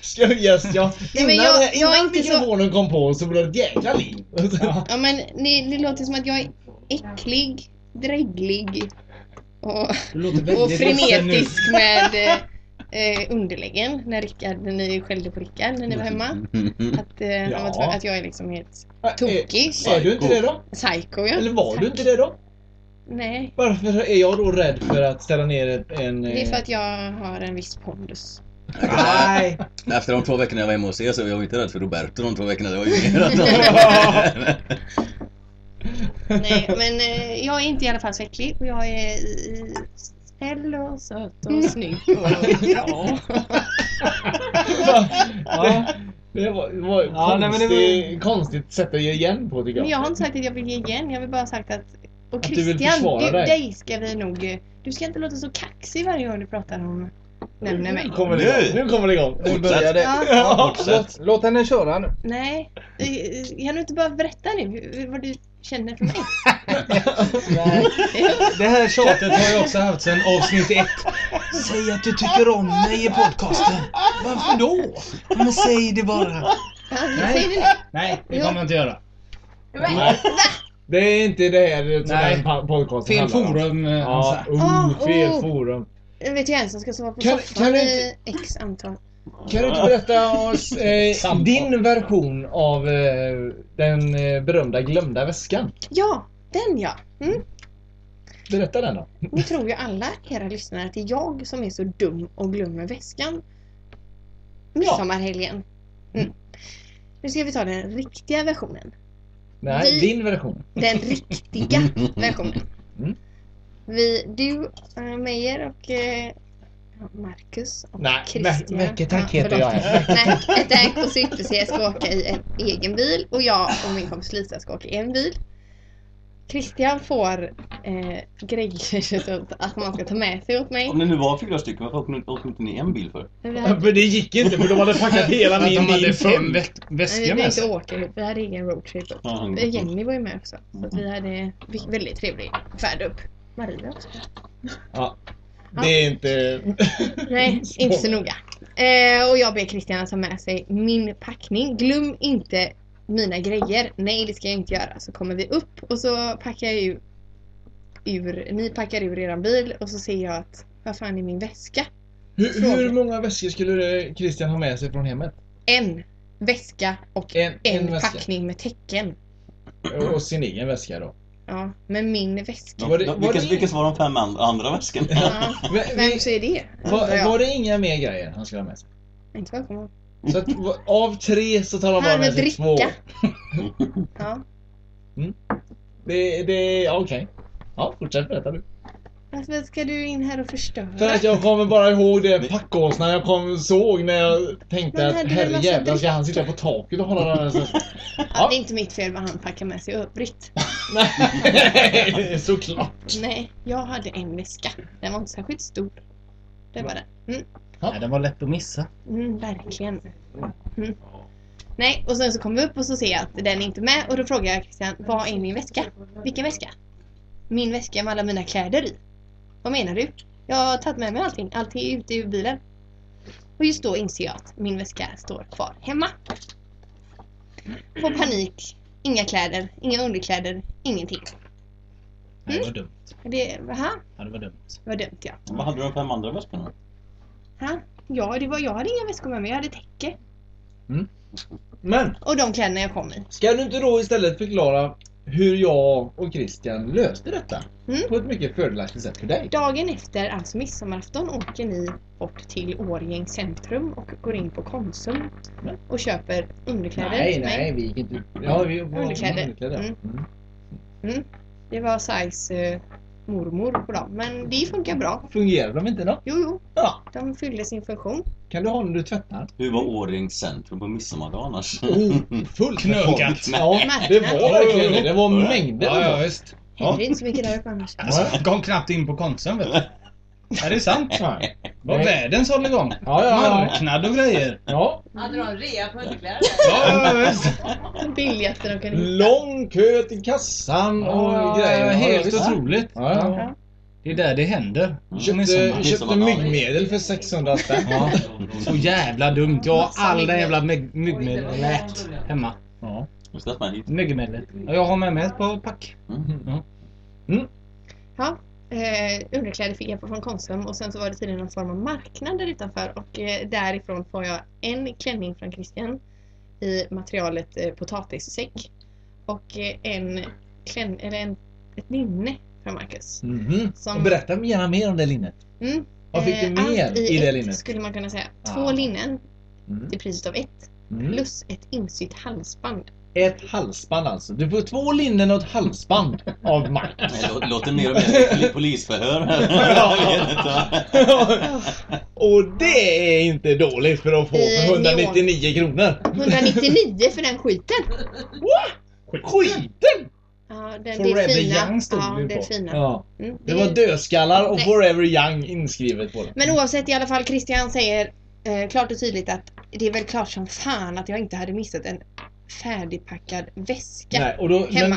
Speaker 3: yes, ja.
Speaker 6: Nej, men
Speaker 3: Innan,
Speaker 6: jag- jag är
Speaker 3: innan
Speaker 6: inte så-
Speaker 3: mikrofonen kom på så blev det ett jäkla liv.
Speaker 6: Ja men ni, ni låter som att jag är äcklig, dräglig och,
Speaker 4: Du låter
Speaker 6: och
Speaker 4: väldigt ledsen nu.
Speaker 6: frenetisk med eh, eh, underläggen när, Rickard, när ni skällde på Rickard när ni var hemma. Att, eh, han var
Speaker 3: Ja.
Speaker 6: tvungen- att jag är liksom helt
Speaker 3: Är,
Speaker 6: tokig.
Speaker 3: är du inte det då?
Speaker 6: Psycho
Speaker 3: Eller
Speaker 6: ja.
Speaker 3: var du inte det då?
Speaker 6: Nej.
Speaker 3: Varför är jag då rädd för att ställa ner ett- en...
Speaker 6: Det är
Speaker 3: eh,
Speaker 6: för att jag har en viss pondus.
Speaker 3: Nej!
Speaker 5: Efter de två veckorna jag var hemma hos er så var jag inte rädd för Roberto de två veckorna. Det var ju mer
Speaker 6: Nej men eh, jag är inte i alla fall så äcklig och jag är eh, snäll och söt och snygg. Och, ja.
Speaker 3: Ja. Det, det var, det var ett
Speaker 4: Ja, nej, men det
Speaker 3: konstigt,
Speaker 4: var ju-
Speaker 3: konstigt sätt att ge igen på tycker jag.
Speaker 6: Men jag har inte sagt att jag vill ge igen. Jag vill bara ha sagt att... Och
Speaker 3: Att du vill
Speaker 6: Christian,
Speaker 3: försvara
Speaker 6: du,
Speaker 3: dig.
Speaker 6: dig ska vi nog... eh, Du ska inte låta så kaxig varje gång du pratar om... Nämner mig.
Speaker 3: Nu kommer det igång. Nu kommer det igång. Nu börjar det.
Speaker 6: Ja.
Speaker 3: Ja.
Speaker 5: Fortsätt.
Speaker 4: Låt henne köra nu.
Speaker 6: Nej. Eh, eh, Kan du inte bara berätta nu hur- vad du känner för mig?
Speaker 4: Det här tjatet har jag också haft sedan avsnitt ett. Säg att du tycker om mig i podcasten. Varför då? Men säg det bara.
Speaker 6: Jag säger det nu.
Speaker 4: Nej, det kommer jag inte göra.
Speaker 3: Det är inte det här som
Speaker 4: Nej.
Speaker 3: den pa- podcasten
Speaker 4: Fel
Speaker 3: handlar om.
Speaker 4: forum. eh,
Speaker 3: Ja,
Speaker 4: Hansa.
Speaker 3: oh,
Speaker 6: Ah,
Speaker 3: fel
Speaker 6: oh.
Speaker 3: forum.
Speaker 6: Jag vet ju en som ska sova på
Speaker 3: Kan-
Speaker 6: soffan
Speaker 3: kan du
Speaker 6: i x antal.
Speaker 3: Kan du inte berätta oss eh,
Speaker 4: Samtal.
Speaker 3: din version av eh, den eh, berömda glömda väskan?
Speaker 6: Ja, den ja. Mm.
Speaker 3: Berätta den då.
Speaker 6: Nu tror ju alla era lyssnare att det är jag som är så dum och glömmer väskan. Midsommarhelgen. Mm. Nu ska vi ta den riktiga versionen.
Speaker 3: Nej,
Speaker 6: Vi-
Speaker 3: din version.
Speaker 6: Den riktiga versionen.
Speaker 3: Mm.
Speaker 6: Vi, du, eh, Meyer och eh, Marcus och
Speaker 3: Nej,
Speaker 6: Christian.
Speaker 3: Mac- Macke Tack
Speaker 6: Ja,
Speaker 3: heter jag.
Speaker 6: Nej, ett ägt och syfte så jag ska åka i en egen bil och jag och min kompis Lisa ska åka i en bil. Christian får eh, grejer så att man ska ta med sig åt mig.
Speaker 5: Om ni nu var fyra stycken, varför åkte ni- åkte inte ni en bil för?
Speaker 6: Men vi hade-
Speaker 5: det gick inte för de hade packat
Speaker 4: hela min bil full.
Speaker 6: Nej, vi behövde inte åka ihop, vi hade ingen roadtrip upp.
Speaker 5: Ja,
Speaker 6: Eh, Jenny var ju med också. Så att vi hade vi- väldigt trevlig färd upp. Maria också.
Speaker 3: Ja. Det är inte...
Speaker 6: Nej, inte så noga. Eh, och jag ber Christian att ta med sig min packning. Glöm inte mina grejer. Nej, det ska jag inte göra. Så kommer vi upp och så packar jag ju ur, ni packar ur er bil och så ser jag att, vad fan är min väska?
Speaker 3: Hur, hur många väskor skulle eh, Christian ha med sig från hemmet?
Speaker 6: En väska och en,
Speaker 3: väska.
Speaker 6: packning med tecken.
Speaker 3: Och sin egen väska då.
Speaker 6: Ja, men min väska.
Speaker 5: Var det, vilka, vilka var de fem and- andra väskorna?
Speaker 6: Vems är det? undrar
Speaker 3: Var,
Speaker 6: jag.
Speaker 3: var det inga mer grejer han skulle ha med sig?
Speaker 6: Inte vad jag kommer ihåg.
Speaker 3: Så att, va- av tre så tar han bara
Speaker 6: Han
Speaker 3: med
Speaker 6: med
Speaker 3: sig två.
Speaker 6: dricka. Ja.
Speaker 3: Det, det, ja, okej. Ja, fortsätt berätta du.
Speaker 6: Varför ska du in här och förstöra?
Speaker 3: För att jag kommer bara ihåg den packåsnan jag kom, såg när jag tänkte
Speaker 6: Men
Speaker 3: att
Speaker 6: hade du en massa
Speaker 3: herrejävlar ska han sitta på taket och hålla den här så-
Speaker 6: Ja, det är inte mitt fel vad han packar med sig i övrigt.
Speaker 3: Såklart.
Speaker 6: Nej, jag hade en väska. Den var inte särskilt stor. Det var den. Mm,
Speaker 4: Nej, den var lätt att missa.
Speaker 6: mm, verkligen. Mm. Nej, och sen så kom vi upp och så ser jag att den är inte med och då frågar jag Christian, vad är min väska? Vilken väska? Min väska med alla mina kläder i. Vad menar du? Jag har tagit med mig allting. Allt är ute ur bilen. Och just då inser jag att min väska står kvar hemma. Får panik. Inga kläder, inga underkläder, ingenting. Mm.
Speaker 4: Nej, det var dumt.
Speaker 6: Det, aha,
Speaker 4: Ja, det var dumt.
Speaker 6: vad dumt ja.
Speaker 5: Vad hade de fem andra väskorna?
Speaker 6: Ha? Ja, det var, jag hade inga väskor med mig, jag hade täcke.
Speaker 3: Mm. Men,
Speaker 6: Och de kläderna jag kom i.
Speaker 3: ska du inte då istället förklara hur jag och Christian löste detta? På ett mycket fördelaktigt sätt för dig.
Speaker 6: Dagen efter, alltså midsommarafton, åker ni bort till Årjängs centrum och går in på Konsum och köper underkläder
Speaker 3: Mm. Nej,
Speaker 6: till mig.
Speaker 3: nej, vi gick inte ut. Ja, vi var
Speaker 6: Underkläder.
Speaker 3: underkläder. ja. Mm.
Speaker 6: Mm. Det var size eh, mormor på dem, men det funkar bra.
Speaker 3: Fungerar de inte då?
Speaker 6: Jo, jo.
Speaker 3: Ja.
Speaker 6: De fyllde sin funktion.
Speaker 3: Kan du ha när du tvättar?
Speaker 5: Hur var Årings centrum på midsommardag annars?
Speaker 3: Oh, fullt med folk. Ja,
Speaker 6: Marknad.
Speaker 3: det var verkligen det. Det var mängder
Speaker 4: Ja,
Speaker 3: av
Speaker 4: ja,
Speaker 3: folk.
Speaker 4: visst.
Speaker 6: Händer inte så mycket där uppe annars.
Speaker 4: Alltså, jag kom knappt in på Konsum vet du. Är det sant? Det var
Speaker 3: Nej.
Speaker 4: världens hålligång.
Speaker 3: Ja, ja, ja.
Speaker 4: Marknad och grejer.
Speaker 3: Ja.
Speaker 7: Hade de rea på underkläder?
Speaker 4: Ja, ja, visst.
Speaker 6: Billigaste de kunde hitta.
Speaker 3: Lång kö till kassan och
Speaker 4: Ja,
Speaker 3: grejer. Ja,
Speaker 4: Helt
Speaker 3: visst.
Speaker 4: otroligt.
Speaker 3: Ja, ja.
Speaker 4: Det är där det händer.
Speaker 3: Köpte, köpte myggmedel för 600 spänn.
Speaker 4: Ja. Så jävla dumt. Jag har all den jävla myg- myggmedlet hemma. Ja. Myggmedlet. Ja, Jag har med mig ett par pack.
Speaker 3: Mm-hmm.
Speaker 4: Ja.
Speaker 6: Ja, eh, underkläder fick jag från Konsum och sen så var det tydligen någon form av marknad där utanför och eh, därifrån får jag en klänning från Christian i materialet eh, potatissäck och eh, en klänning, eller en, ett linne från Marcus.
Speaker 3: Mhm.
Speaker 6: Som-
Speaker 3: Berätta gärna mer om det linnet.
Speaker 6: Mm.
Speaker 3: Vad fick du
Speaker 6: Eh,
Speaker 3: mer
Speaker 6: allt
Speaker 3: i det
Speaker 6: ett,
Speaker 3: linnet?
Speaker 6: skulle man kunna säga. Två
Speaker 3: Ah.
Speaker 6: linnen
Speaker 3: Mm.
Speaker 6: till priset av ett
Speaker 3: Mm.
Speaker 6: plus ett insytt halsband.
Speaker 3: Ett halsband alltså. Du får två linnen och ett halsband av Marcus.
Speaker 5: Det lå- låter mer och mer poli- polisförhör här. Jag vet inte, va?
Speaker 3: och det är inte dåligt för att få
Speaker 6: I
Speaker 3: för 199 kronor.
Speaker 6: 199 för den skiten!
Speaker 3: Skiten!
Speaker 6: Ja, den, det är
Speaker 3: Forever
Speaker 6: fina.
Speaker 3: Young stod
Speaker 6: ja,
Speaker 3: det ju
Speaker 6: det är
Speaker 3: på.
Speaker 6: fina.
Speaker 3: Ja.
Speaker 6: Mm,
Speaker 3: Det
Speaker 6: är-
Speaker 3: var dödskallar och
Speaker 6: Nej.
Speaker 3: Forever Young inskrivet på den.
Speaker 6: Men oavsett i alla fall, Christian säger eh, klart och tydligt att det är väl klart som fan att jag inte hade missat en färdigpackad väska
Speaker 3: Nej, och då-
Speaker 6: hemma.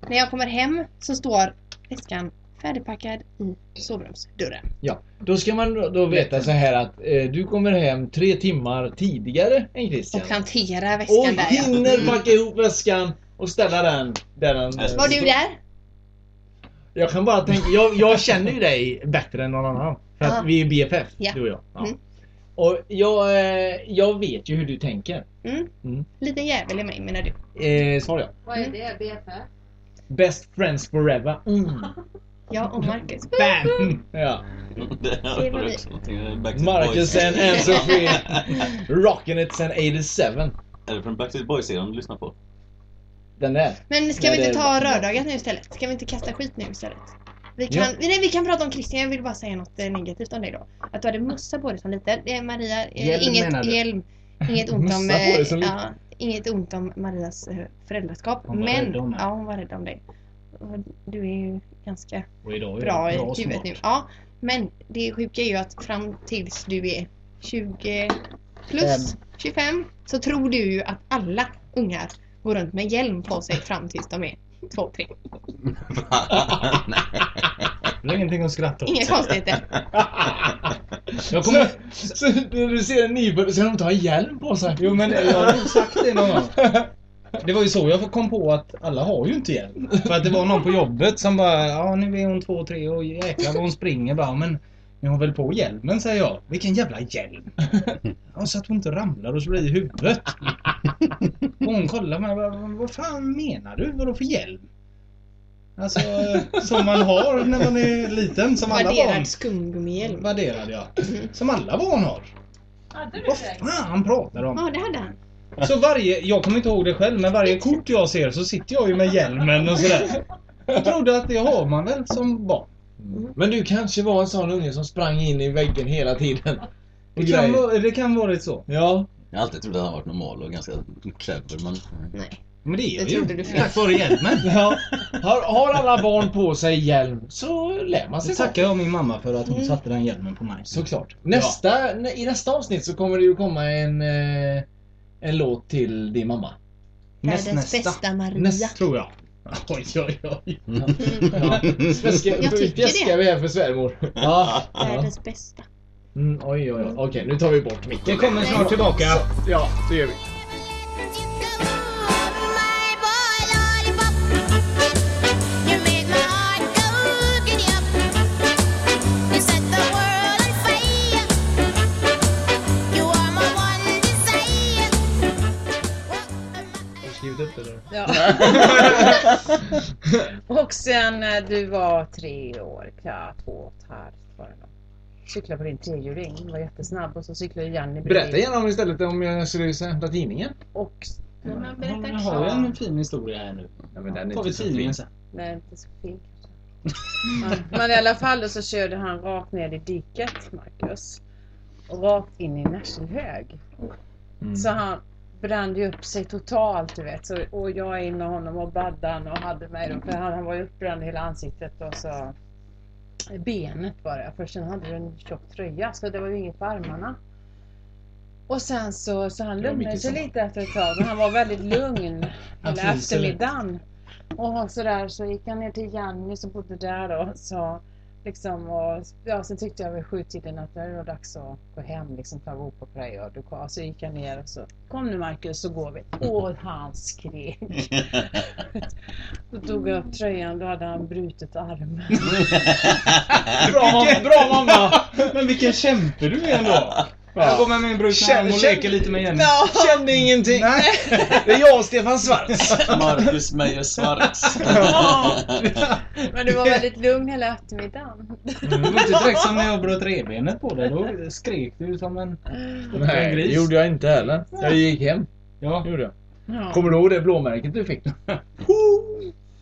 Speaker 3: men-
Speaker 6: När jag kommer hem så står väskan färdigpackad i sovrumsdörren.
Speaker 3: Ja, då ska man då- då veta så här att eh, du kommer hem tre timmar tidigare än Christian.
Speaker 6: Och plantera väskan
Speaker 3: Och
Speaker 6: där ja.
Speaker 3: hinner packa ihop väskan och ställa den där den...
Speaker 6: Var du där?
Speaker 3: Jag kan bara tänka, jag, jag känner ju dig bättre än någon annan.
Speaker 4: För att
Speaker 6: Ah.
Speaker 4: vi är BFF,
Speaker 6: Ja.
Speaker 4: du och jag. Ja.
Speaker 6: Mm.
Speaker 4: Och jag, eh, jag vet ju hur du tänker.
Speaker 6: Mm.
Speaker 4: Mm.
Speaker 6: Liten jävel i mig menar du.
Speaker 4: Eh, svar ja.
Speaker 14: Vad är det? BFF?
Speaker 4: Best friends forever. Mm.
Speaker 6: Jag och Marcus.
Speaker 4: Bam! Ja.
Speaker 6: har varit
Speaker 4: Marcus and Ann-Sofie. Rockin' it sen 87.
Speaker 5: Är det från Backstreet Boys-serien du lyssnar på?
Speaker 4: Den där.
Speaker 6: Men ska
Speaker 4: Nej,
Speaker 6: vi inte
Speaker 4: det-
Speaker 6: ta rördagat nu istället? Ska vi inte kasta skit nu istället? Vi kan,
Speaker 4: Ja.
Speaker 6: nej, vi kan prata om Christian, jag vill bara säga något eh, negativt om dig då. Att du hade mössa på dig som liten. Det är Maria, eh,
Speaker 4: Hjälm, menar
Speaker 6: inget
Speaker 4: du?
Speaker 6: hjälm. Inget ont om,
Speaker 4: Mössa på dig
Speaker 6: eh,
Speaker 4: som
Speaker 6: ja, inget ont om Marias eh, föräldraskap.
Speaker 4: Hon var
Speaker 6: men
Speaker 4: rädd om mig.
Speaker 6: ja, hon var rädd om dig. Och Du är ju ganska
Speaker 4: Och idag är
Speaker 6: bra
Speaker 4: jag
Speaker 6: i
Speaker 4: bra och
Speaker 6: huvudet
Speaker 4: smart.
Speaker 6: nu. Ja, men det sjuka är ju att fram tills du är 20 plus 25 så tror du ju att alla ungar går runt med hjälm på sig fram tills de är 2-3.
Speaker 4: Det är ingenting att skratta åt.
Speaker 6: Inga konstigheter.
Speaker 4: Jag kommer...
Speaker 3: Så, så när du ser en nyfödd, ska de ta en hjälm på sig?
Speaker 4: Jo men jag har nog sagt det någon gång. Det var ju så jag kom på att alla har ju inte hjälm. För att det var någon på jobbet som bara ja nu är hon två, tre och jäklar vad hon springer bara men nu har hon väl på hjälmen säger jag. Vilken jävla hjälm! Ja, så att hon inte ramlar och slår i huvudet. Och hon kollar mig vad, vad fan menar du? Vadå för hjälm? Alltså som man har när man är liten som alla barn.
Speaker 6: Värderad skumgummihjälm.
Speaker 4: Värderad ja. Som alla barn har.
Speaker 14: Hade du
Speaker 4: Vad
Speaker 14: det?
Speaker 4: fan pratar de?
Speaker 6: Ja, det hade han.
Speaker 4: Så varje, jag kommer inte ihåg det själv, men varje kort jag ser så sitter jag ju med hjälmen och sådär. Jag trodde att det har man väl som barn.
Speaker 3: Men du kanske var en sån unge som sprang in i väggen hela tiden.
Speaker 4: Det kan, vara, det kan varit så.
Speaker 3: Ja.
Speaker 5: Jag har alltid trott att han varit normal och ganska clever men...
Speaker 6: Nej.
Speaker 4: Men det är jag
Speaker 6: Det trodde
Speaker 4: ju.
Speaker 6: du fel.
Speaker 4: Tack vare hjälmen.
Speaker 3: ja. Har, har alla barn på sig hjälm så lär man
Speaker 4: Det
Speaker 3: sig
Speaker 4: tackar jag min mamma för att hon
Speaker 6: Mm.
Speaker 4: satte den hjälmen på mig.
Speaker 3: Såklart. Nästa, nä- I nästa avsnitt så kommer det ju komma en, eh, en låt till din mamma.
Speaker 4: Näst,
Speaker 6: Världens
Speaker 4: nästa.
Speaker 6: bästa Maria.
Speaker 4: Näst, tror jag. Oj, oj, oj.
Speaker 3: Ja. Fjäska,
Speaker 6: Jag tycker
Speaker 3: fjäskar vi här för svärmor. Ja. ja.
Speaker 6: Världens bästa.
Speaker 3: Mm, oj, oj, oj. Okej, nu tar vi bort micken.
Speaker 4: Jag kommer snart tillbaka.
Speaker 3: Ja, det gör vi.
Speaker 4: Skriv upp det då.
Speaker 1: Ja. och sen när du var tre år, ja, två och ett halvt var det nog. Cyklade på din trehjuling, var jättesnabb och så cyklade Janni bredvid.
Speaker 3: Berätta gärna om istället om jag skulle hämta tidningen.
Speaker 1: Och,
Speaker 7: Men man berättar
Speaker 4: Jag har ju
Speaker 7: klart.
Speaker 4: en fin historia här nu.
Speaker 3: Ja, men den
Speaker 4: Tar vi tidningen sen.
Speaker 1: nej inte så fin kanske.
Speaker 3: Mm.
Speaker 1: Men, men i alla fall och så körde han rakt ner i diket, Marcus. Och rakt in i en Nässelhög.
Speaker 3: Mm.
Speaker 1: Så han brann ju upp sig totalt du vet. Så, och jag in med honom och baddan och hade mig då. För han, han var ju uppbränd i hela ansiktet och så benet bara. För sen hade du en tjock tröja så det var ju inget på armarna. Och sen så, så han
Speaker 3: Det var
Speaker 1: lugnade
Speaker 3: mycket
Speaker 1: sig
Speaker 3: samma.
Speaker 1: lite efter ett tag. Men han var väldigt lugn
Speaker 4: Han
Speaker 1: hela
Speaker 4: fryser lite.
Speaker 1: eftermiddagen. Och så där så gick han ner till Janni som bodde där då. Så liksom och, ja, sen tyckte jag vid sjutiden att nu är det nog dags att gå hem liksom ta god på dig och du kom. Så gick jag ner och så kom nu Marcus så går vi. Och han skrek. Då tog jag upp tröjan, då hade han brutit armen.
Speaker 4: Bra, mamma, bra mamma! Men vilken kämpe du är ändå! Jag går med min brorsa hem och leker lite med hjälmen.
Speaker 3: Kände ingenting. Det är jag och Stefan Svarts.
Speaker 5: Marcus Meyer Svarts.
Speaker 1: Men du var väldigt lugn hela eftermiddagen.
Speaker 4: Du var inte Mm, direkt som när jag bröt revbenet på dig. Då skrek du som en...
Speaker 3: Nej, det gjorde jag inte heller. Jag gick hem.
Speaker 4: Ja.
Speaker 3: Gjorde jag.
Speaker 1: Ja.
Speaker 3: Kommer du ihåg det blåmärket du fick?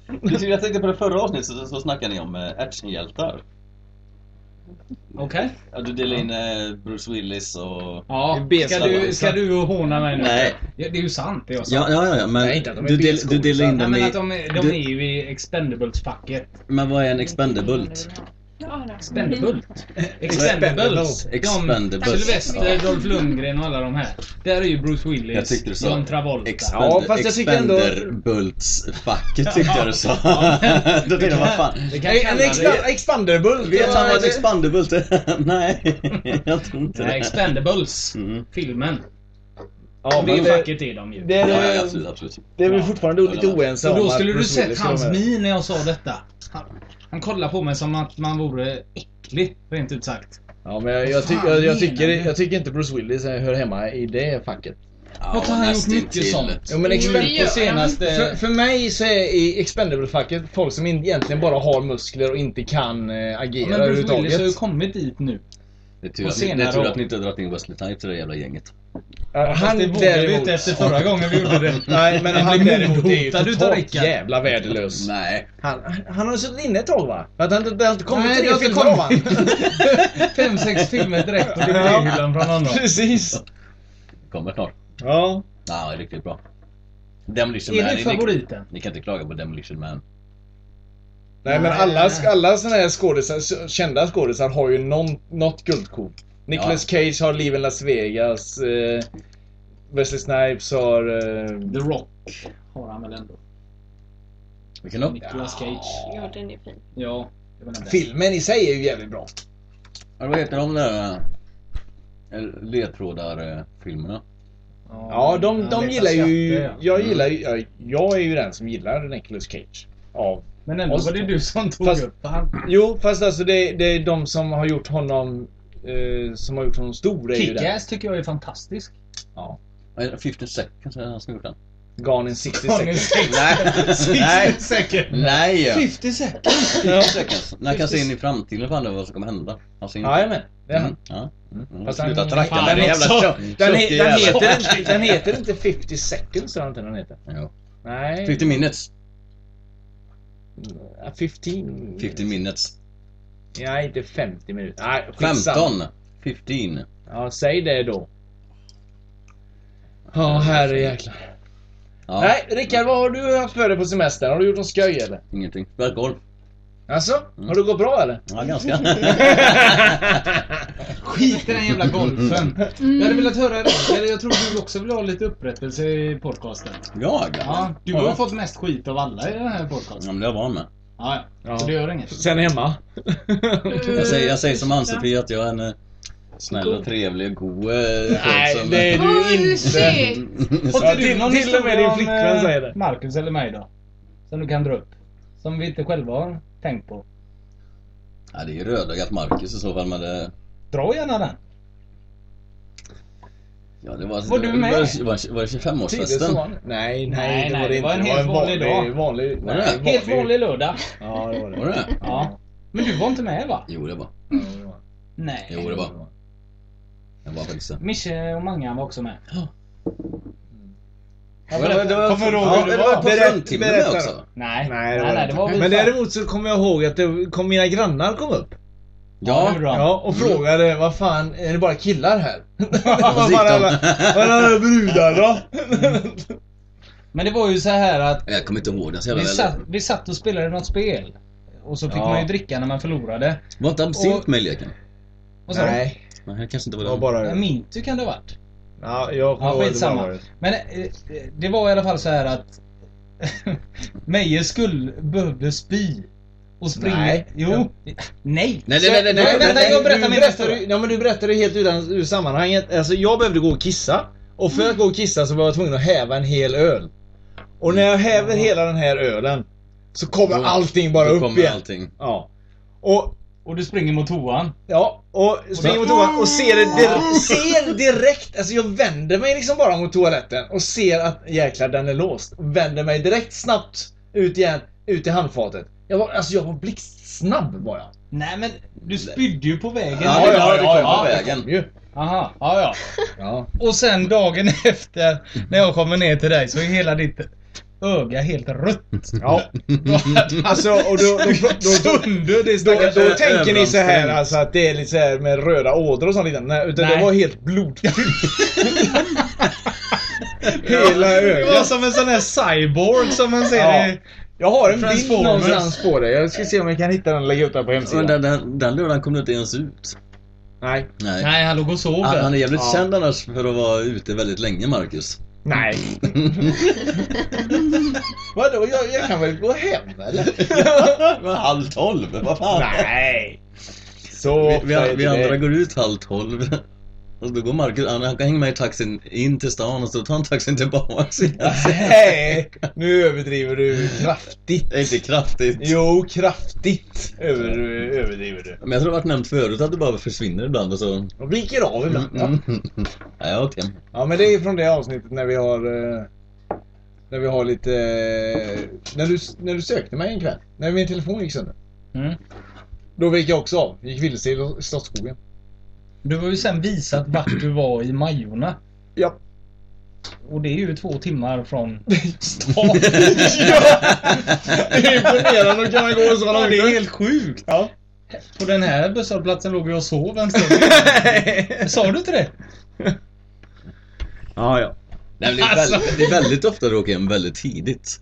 Speaker 5: Jag tänkte på det förra avsnittet så, så snackade ni om eh, actionhjältar.
Speaker 4: Okej.
Speaker 5: Ja, du delade in eh, Bruce Willis och...
Speaker 4: Ja,
Speaker 3: Det är
Speaker 4: ska
Speaker 3: B-skallar.
Speaker 4: du, ska du håna mig nu?
Speaker 5: Nej.
Speaker 4: Ja, Det är ju sant det jag sa.
Speaker 5: Ja, ja, ja, men
Speaker 3: Nej, inte att de är
Speaker 5: du, del,
Speaker 3: B-skådisar.
Speaker 5: du delade in
Speaker 4: Nej,
Speaker 5: dem
Speaker 4: men
Speaker 5: i...
Speaker 4: att de, är- de
Speaker 5: du,
Speaker 4: är ju i expendables-facket.
Speaker 5: men vad är en expendabult?
Speaker 7: Ja, då.
Speaker 4: Expendabult?
Speaker 3: Expendables.
Speaker 4: Expendables?
Speaker 5: Expendables.
Speaker 4: De- Sylvester, Dolph Lundgren och alla de här. Där är ju Bruce Willis,
Speaker 5: Jag tyckte du sa
Speaker 4: John Travolta.
Speaker 5: Expender,
Speaker 3: Ja, fast jag tycker ändå-
Speaker 5: Expenderbultsfacket tyckte jag du sa. Då tänkte jag, vad fan.
Speaker 4: Det kan
Speaker 3: En
Speaker 4: kalla det...
Speaker 3: expa- expanderbult. eh,
Speaker 5: Vet han vad ett
Speaker 3: det-
Speaker 5: expandebult är? Nej, jag tror inte
Speaker 4: Nej,
Speaker 5: det.
Speaker 4: Expendables.
Speaker 5: Mm.
Speaker 4: Filmen.
Speaker 3: Ja,
Speaker 4: det är
Speaker 3: men
Speaker 4: ju
Speaker 3: det,
Speaker 4: facket är de ju.
Speaker 3: det,
Speaker 5: Ja, ja,
Speaker 3: är-
Speaker 5: absolut, absolut.
Speaker 3: det är vi fortfarande lite oense
Speaker 4: Så
Speaker 3: om.
Speaker 4: då
Speaker 3: att
Speaker 4: skulle du
Speaker 3: Bruce
Speaker 4: sett
Speaker 3: Willis ska
Speaker 4: hans
Speaker 3: vara med.
Speaker 4: min när jag sa detta. Han, han kollade på mig som att man vore äcklig, rent ut sagt.
Speaker 3: Ja, men jag, jag,
Speaker 4: Vad
Speaker 3: ty,
Speaker 4: fan
Speaker 3: jag, jag,
Speaker 4: menar
Speaker 3: tycker,
Speaker 4: du?
Speaker 3: jag tycker inte Bruce Willis hör hemma i det facket.
Speaker 4: Har han gjort mycket sånt?
Speaker 3: Jo, men
Speaker 4: Mm, Det
Speaker 3: expend-
Speaker 4: gör
Speaker 3: på
Speaker 4: han.
Speaker 3: senaste... För,
Speaker 4: För-
Speaker 3: för mig så är i expendable-facket folk som in, egentligen bara har muskler och inte kan eh,
Speaker 4: Ja,
Speaker 3: agera
Speaker 4: men Bruce Willis har ju
Speaker 3: överhuvudtaget.
Speaker 4: kommit dit nu.
Speaker 5: Det är tur,
Speaker 4: På
Speaker 5: att ni, det är
Speaker 4: senare
Speaker 5: tur
Speaker 4: år.
Speaker 5: att ni inte har dragit in Wesley Snipes i det jävla gänget.
Speaker 3: Ja,
Speaker 4: Fast det vågade vi inte efter förra gången vi gjorde det.
Speaker 3: Nej, men
Speaker 4: Den
Speaker 3: han
Speaker 4: blev
Speaker 3: däremot är ju
Speaker 4: mordhotad utav
Speaker 3: totalt
Speaker 4: Rickard.
Speaker 3: jävla värdelös.
Speaker 5: Nej.
Speaker 3: Han, han har suttit inne ett tag va? För att han inte- det har inte kommit
Speaker 4: Nej,
Speaker 3: tre
Speaker 4: det har inte
Speaker 3: filmer av han.
Speaker 4: kommit. Fem, sex filmer direkt på
Speaker 3: Ja.
Speaker 4: DVD-hyllan från honom.
Speaker 3: Precis.
Speaker 5: Kommer snart.
Speaker 3: Ja.
Speaker 5: Ja, det är riktigt bra. Demolition
Speaker 3: Är
Speaker 5: Man.
Speaker 3: det favoriten?
Speaker 5: Ni, ni kan inte klaga på Demolition Man.
Speaker 3: Nej men alla, alla såna här skådisar, kända skådisar har ju någon, något guldkorn. Nicolas Cage har Liv in Las Vegas. Eh, Wesley Snipes har... Eh,
Speaker 4: The Rock har han väl ändå.
Speaker 5: Vilken då?
Speaker 4: Nicolas Cage.
Speaker 6: Ja, den är fin.
Speaker 4: Ja. det var den där.
Speaker 3: Filmen i sig är ju jävligt bra.
Speaker 5: Ja, vad heter de där eh, ledtrådar-filmerna?
Speaker 3: Ja, de, de
Speaker 5: Leta
Speaker 3: gillar ju...
Speaker 5: skatter, ja.
Speaker 3: Jag gillar ju... Jag, jag är ju den som gillar Nicolas Cage. Av
Speaker 4: Men ändå
Speaker 3: oss
Speaker 4: var det
Speaker 3: två.
Speaker 4: du som tog
Speaker 3: Fast-
Speaker 4: upp han.
Speaker 3: Jo, fast alltså det, det är de som har gjort honom... Eh, som har gjort honom stor är ju den.
Speaker 4: Kick-Ass tycker jag är fantastisk.
Speaker 3: Ja.
Speaker 5: Vad är det? 50 seconds eller han som gjort den?
Speaker 3: Gone in 60
Speaker 4: Gone in
Speaker 3: seconds.
Speaker 4: 60
Speaker 5: Nej.
Speaker 4: 60 seconds.
Speaker 5: Nej!
Speaker 3: 50 seconds.
Speaker 5: 50 seconds. När kan se in i framtiden fan vad som kommer hända. Alltså, in-
Speaker 3: Jajamän, det är han.
Speaker 5: Mm, ja. Mm.
Speaker 3: Fast
Speaker 5: Sluta
Speaker 3: han-
Speaker 5: tracka
Speaker 3: fan,
Speaker 5: den jävla Mm.
Speaker 3: också.
Speaker 5: tjock-
Speaker 3: den, he,
Speaker 5: tjocka
Speaker 3: den,
Speaker 5: jäveln.
Speaker 3: heter, inte- den heter inte 50 seconds, tror jag inte den heter.
Speaker 5: Jo.
Speaker 3: Nej.
Speaker 5: 50 minutes.
Speaker 3: 15.
Speaker 5: 50 minutes.
Speaker 3: Nej, inte 50 minuter. Nej, skitsamma.
Speaker 5: 15. 15.
Speaker 3: Ja, säg det då. Ja, herrejäklar.
Speaker 5: Ja,
Speaker 3: Nej, Rickard, vad har du haft för dig på semestern? Har du gjort någon skoj eller?
Speaker 5: ingenting. Spelat golf.
Speaker 3: Alltså,
Speaker 5: Mm.
Speaker 3: Har det gått bra eller?
Speaker 5: Ja, ganska.
Speaker 4: Skit i den jävla golfen. Jag
Speaker 7: Mm.
Speaker 4: hade velat höra, eller jag tror du också vill ha lite upprättelse i podcasten.
Speaker 5: Jag?
Speaker 4: Ja, du har ju fått mest skit av alla i den här podcasten.
Speaker 5: Ja, men det är jag van med.
Speaker 4: Ja, ja. Så det gör inget.
Speaker 3: Sen hemma.
Speaker 5: Jag säger, jag säger som
Speaker 7: Mm.
Speaker 5: Ann-Sofie att jag är en eh, snäll och trevlig och god... eh,
Speaker 4: Nej,
Speaker 5: skötsam-
Speaker 4: det är du
Speaker 5: Mm,
Speaker 4: inte.
Speaker 5: mm, så-
Speaker 4: Har inte du någon
Speaker 3: till och med
Speaker 4: historia
Speaker 3: din
Speaker 4: om,
Speaker 3: flickvän
Speaker 4: eh,
Speaker 3: säger det.
Speaker 4: Marcus eller mig då? Som du kan dra upp? Som vi inte själva har tänkt på.
Speaker 5: Ja, det är ju rödögat Marcus i så fall, men det...
Speaker 4: Dra gärna den.
Speaker 5: Ja, det var,
Speaker 4: Var du
Speaker 5: det
Speaker 4: med?
Speaker 5: Var, var, var det
Speaker 3: Tidigt som
Speaker 5: 25-årsfesten?
Speaker 3: vanligt. Nej, nej, det
Speaker 4: Nej,
Speaker 3: var
Speaker 4: nej,
Speaker 3: det
Speaker 4: det
Speaker 3: inte.
Speaker 4: var en helt vanlig dag.
Speaker 3: vanlig,
Speaker 5: Var
Speaker 3: nej,
Speaker 5: det?
Speaker 3: vanlig.
Speaker 4: Helt vanlig lördag.
Speaker 3: Ja, det var det.
Speaker 5: Var det?
Speaker 4: Ja. Men du var inte med va?
Speaker 5: Jo, det var.
Speaker 4: Nej.
Speaker 5: Jo, det var. Jag var faktiskt det.
Speaker 4: Mische och Mangan var också med.
Speaker 5: Ja.
Speaker 4: Ja,
Speaker 5: Det var- det var-
Speaker 4: Kommer du ihåg
Speaker 5: ja,
Speaker 4: hur
Speaker 5: det
Speaker 4: det
Speaker 5: var
Speaker 4: var?
Speaker 5: på
Speaker 3: Berätta-
Speaker 5: fruntimmen
Speaker 3: berätta.
Speaker 5: med också.
Speaker 3: Nej,
Speaker 4: Nej.
Speaker 3: det var
Speaker 4: Nej,
Speaker 3: det
Speaker 4: nej,
Speaker 3: inte.
Speaker 4: det var väl
Speaker 3: Men
Speaker 4: fan-
Speaker 3: däremot så kommer jag ihåg att det kom mina grannar kom upp.
Speaker 4: Ja, det
Speaker 5: Ja,
Speaker 4: gjorde han.
Speaker 3: Ja, och frågade vad fan, är det bara killar här?
Speaker 5: och
Speaker 3: Vad
Speaker 5: så gick
Speaker 3: fan
Speaker 5: de.
Speaker 3: alla- vad är det brudar då?
Speaker 4: Men det var ju så här att
Speaker 5: Jag kommer inte ihåg den så jävla
Speaker 4: vi satt,
Speaker 5: väl.
Speaker 4: vi satt och spelade något spel. Och så fick
Speaker 5: Ja.
Speaker 4: man ju dricka när man förlorade.
Speaker 5: Var inte absint
Speaker 4: Och-
Speaker 5: med i leken?
Speaker 4: Vad sa du?
Speaker 3: Nej,
Speaker 5: Nej, det kanske inte var
Speaker 3: det var
Speaker 5: den.
Speaker 3: bara
Speaker 4: Ja, Mintu kan det ha varit.
Speaker 3: Ja, jag kommer
Speaker 4: Ja,
Speaker 3: ihåg att det
Speaker 4: skitsamma.
Speaker 3: var det.
Speaker 4: Men eh, det var i alla fall så här att Meyer skulle, behövde spy. Och springa.
Speaker 3: Nej.
Speaker 4: Jo. Nej.
Speaker 5: Nej, nej, nej, nej, nej,
Speaker 4: Vänta,
Speaker 5: nej,
Speaker 4: jag
Speaker 3: du
Speaker 4: berättar min
Speaker 3: berättar
Speaker 4: historia.
Speaker 3: ju, ja, men du berättar ju helt utan ur sammanhanget. Alltså, jag behövde gå och kissa. Och för att gå och kissa så var jag tvungen att häva en hel öl. Och när jag häver hela den här ölen så kommer
Speaker 5: Då-
Speaker 3: allting bara
Speaker 5: Då
Speaker 3: upp
Speaker 5: kommer
Speaker 3: igen.
Speaker 5: allting.
Speaker 3: Ja. Och,
Speaker 4: Och du springer mot toan.
Speaker 3: ja, och springer mot toan och ser det dir- ser direkt. Alltså jag vänder mig liksom bara mot toaletten och ser att jäklar den är låst. Vänder mig direkt snabbt ut igen, ut i handfatet. Jag var, alltså jag var blixtsnabb var jag.
Speaker 4: Nej men du spydde ju på vägen.
Speaker 5: Ja, det var- det kom på
Speaker 3: det
Speaker 5: vägen.
Speaker 3: kom ju.
Speaker 4: Aha, ja, ja.
Speaker 3: Ja.
Speaker 4: Och sen dagen efter när jag kommer ner till dig så är hela ditt öga helt rött.
Speaker 3: Ja. Alltså, och då, då, då, då,
Speaker 4: Sönder det
Speaker 3: då,
Speaker 4: stackars
Speaker 3: då tänker ni så här
Speaker 4: överansträngt.
Speaker 3: alltså att det är lite så här med röda ådror och sånt liknande. Nej, utan det
Speaker 4: Nej.
Speaker 3: var helt blodfyllt. Hela
Speaker 4: Det var
Speaker 3: ögat.
Speaker 4: som en sån här cyborg som man ser
Speaker 3: Ja.
Speaker 4: i...
Speaker 3: Jag har en bild
Speaker 4: Transformers.
Speaker 3: någonstans på det. Jag ska se om jag kan hitta den och lägga upp den på
Speaker 5: Men
Speaker 3: hemsidan.
Speaker 5: den, den, den lördagen kom du inte ens ut.
Speaker 3: Nej.
Speaker 5: Nej.
Speaker 4: Nej, han låg och sov
Speaker 5: Han, han är
Speaker 4: där.
Speaker 5: jävligt
Speaker 3: Ja.
Speaker 5: känd annars för att vara ute väldigt länge, Marcus.
Speaker 3: Nej. Vadå? Jag, jag kan väl gå hem eller?
Speaker 5: Det var halv tolv, vad fan?
Speaker 3: Nej. Så
Speaker 5: Vi, vi,
Speaker 3: ofta är
Speaker 5: vi
Speaker 3: det
Speaker 5: andra
Speaker 3: det.
Speaker 5: går ut halv tolv. Och då går Marcus, han, han kan hänga med i taxin in till stan och så tar han taxin tillbaks igen.
Speaker 3: Nej, nu överdriver du kraftigt.
Speaker 5: Inte kraftigt.
Speaker 3: Jo, kraftigt över, överdriver du.
Speaker 5: Men jag tror det har varit nämnt förut att du bara försvinner ibland och så...
Speaker 3: Och viker av ibland.
Speaker 5: Mm, mm. Ja, jag har åkt hem.
Speaker 3: Ja, men det är från det avsnittet när vi har... eh, När vi har lite... eh, När du, när du sökte mig en kväll. När min telefon gick sönder.
Speaker 4: Mm.
Speaker 3: Då vek jag också av. Gick vilse i Lo- Slottsskogen.
Speaker 4: Du har ju sen visat vart du var i Majorna.
Speaker 3: Ja.
Speaker 4: Och det är ju två timmar från...
Speaker 3: ja! Det är imponerande att kunna gå så långt.
Speaker 4: Det är helt sjukt.
Speaker 3: Ja.
Speaker 4: På den här busshållplatsen låg jag och sov en stund. Sa du inte det?
Speaker 3: Ja, ja.
Speaker 5: Nej, men det, är
Speaker 4: Alltså.
Speaker 5: väldigt, det är väldigt ofta du åker hem väldigt tidigt.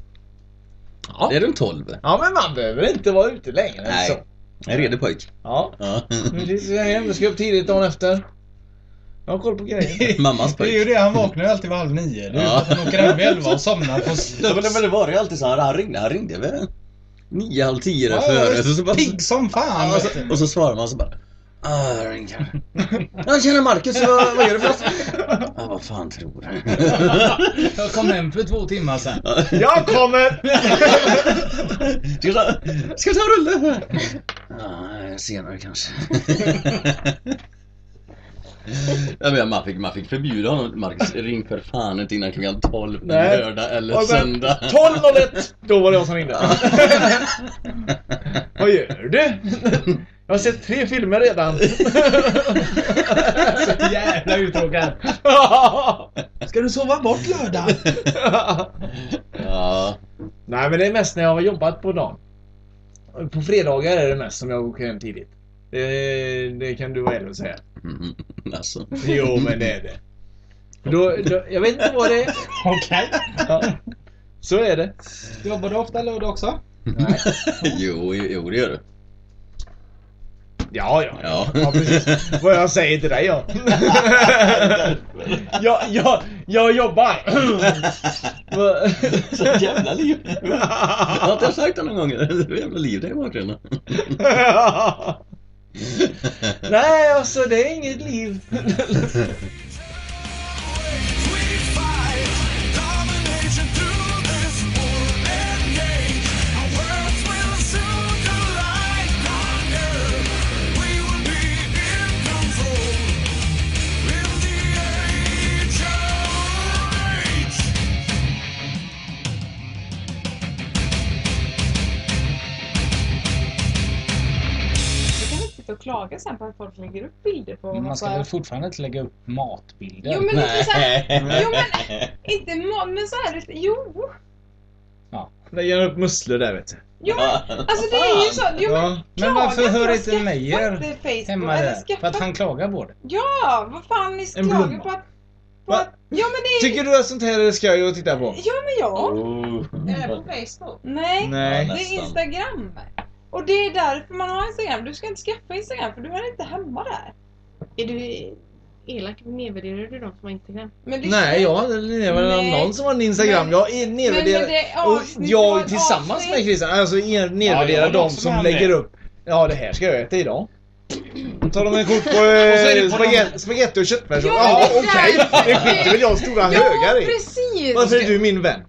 Speaker 3: Ja.
Speaker 5: Är runt 12?
Speaker 3: Ja, men man behöver inte vara ute längre än
Speaker 5: Nej.
Speaker 3: så.
Speaker 5: En redig pojk.
Speaker 3: Ja.
Speaker 5: Ja.
Speaker 3: Men det är hem, du ska upp tidigt dagen efter. Jag har koll på grejer.
Speaker 5: Mammas
Speaker 4: Det är ju
Speaker 5: pojk.
Speaker 4: det, han vaknar ju alltid vid halv nio. Det är ju
Speaker 5: Ja.
Speaker 4: för att han åker hem vid elva och somnar på
Speaker 5: Ja, men,
Speaker 4: studs.
Speaker 5: det- men det var ju alltid så här, han ringde, han ringde väl nio, halv tio där
Speaker 4: Ja,
Speaker 5: före. Så, så bara,
Speaker 4: Pigg som fan!
Speaker 5: och,
Speaker 4: vet
Speaker 5: så,
Speaker 4: du.
Speaker 5: och så svarar man så bara. Ah, jag ringer. Ja, tjena Marcus, vad, vad gör du för något? Ja, vad fan tror du?
Speaker 4: Jag kom hem för två timmar sen.
Speaker 3: Jag kommer!
Speaker 5: Ska vi ta, ska vi ta en rulle? Ja, senare kanske. Jag menar, man, fick, man fick förbjuda honom. Marcus, ring för fan inte innan klockan 12 på
Speaker 3: Nej.
Speaker 5: lördag eller
Speaker 3: Och sen
Speaker 5: söndag.
Speaker 3: 12.01, då var det jag som ringde. Vad gör du? Jag har sett tre filmer redan.
Speaker 4: Så jävla uttråkad. Ska du sova bort lördag?
Speaker 5: Ja.
Speaker 3: Nej men det är mest när jag har jobbat på dagen. På fredagar är det mest som jag åker hem tidigt. Det, det kan du vara ärlig och säga.
Speaker 5: Mm, alltså.
Speaker 3: Jo men det är det. Då, då, jag vet inte vad det är.
Speaker 4: Okej.
Speaker 3: Ja. Så är det.
Speaker 4: Jobbar du ofta lördag också?
Speaker 5: Jo, jo det gör du.
Speaker 3: Ja, ja.
Speaker 5: Ja.
Speaker 3: Ja, precis. Vad jag säger till dig ja. jag, jag, jag jobbar. Va-
Speaker 5: Så jävla liv. Har inte jag sagt det någon gång? Det är jävla liv där i bakgrunden.
Speaker 3: Nej alltså det är inget liv.
Speaker 7: Du kan inte sitta och klaga sen på att folk lägger upp bilder på
Speaker 4: Man ska
Speaker 7: massa-
Speaker 4: väl fortfarande inte lägga upp matbilder?
Speaker 7: Jo men inte såhär,
Speaker 5: Nej.
Speaker 7: jo men inte mat, men såhär lite, jo!
Speaker 3: Lägger upp musslor där vet du.
Speaker 7: Jo men alltså det är ju så, jo men
Speaker 3: Ja.
Speaker 4: Men varför
Speaker 7: klaga
Speaker 4: hör
Speaker 7: på-
Speaker 4: inte Meyer
Speaker 7: skaffa inte Facebook,
Speaker 4: hemma
Speaker 7: eller
Speaker 4: där? För att
Speaker 7: skaffa-
Speaker 4: han klagar på det.
Speaker 7: ja, vad fan ni
Speaker 3: En
Speaker 7: klagar
Speaker 3: blomma.
Speaker 7: på att, på
Speaker 3: Va?
Speaker 7: att, ja men det är
Speaker 3: Tycker du att sånt här är skoj att titta på?
Speaker 7: ja men ja,
Speaker 5: Oh.
Speaker 1: Är det på Facebook?
Speaker 7: nej,
Speaker 3: Nej.
Speaker 7: det är
Speaker 5: nästan.
Speaker 7: Instagram. Och det är därför man har Instagram, du ska inte skaffa Instagram för du är inte hemma där.
Speaker 6: Är du elak? Nedvärderar du dem som har Instagram?
Speaker 7: Men det
Speaker 3: Nej, jag hade nedvärderat
Speaker 7: Nej.
Speaker 3: någon som har en Instagram.
Speaker 7: Men-
Speaker 3: jag är
Speaker 7: men
Speaker 3: nedvärderad.
Speaker 7: det är
Speaker 3: Och
Speaker 7: avsnitt, det var
Speaker 3: jag
Speaker 7: ett
Speaker 3: tillsammans
Speaker 7: avsnitt.
Speaker 3: med Christian, alltså er- nedvärderar
Speaker 4: Ja, jag
Speaker 3: de
Speaker 4: också
Speaker 3: som
Speaker 4: med
Speaker 3: lägger
Speaker 4: det.
Speaker 3: upp. Ja, det här ska jag äta idag. Tar de en kort på, eh,
Speaker 4: Och så är det på
Speaker 3: spagetti, spagetti och köttfärssås?
Speaker 7: Ja,
Speaker 3: Ja,
Speaker 7: det är
Speaker 3: okej!
Speaker 7: där.
Speaker 3: Det skiter väl jag stora
Speaker 7: Ja
Speaker 3: högar i.
Speaker 7: precis!
Speaker 3: Varför är du Alltså, min vän?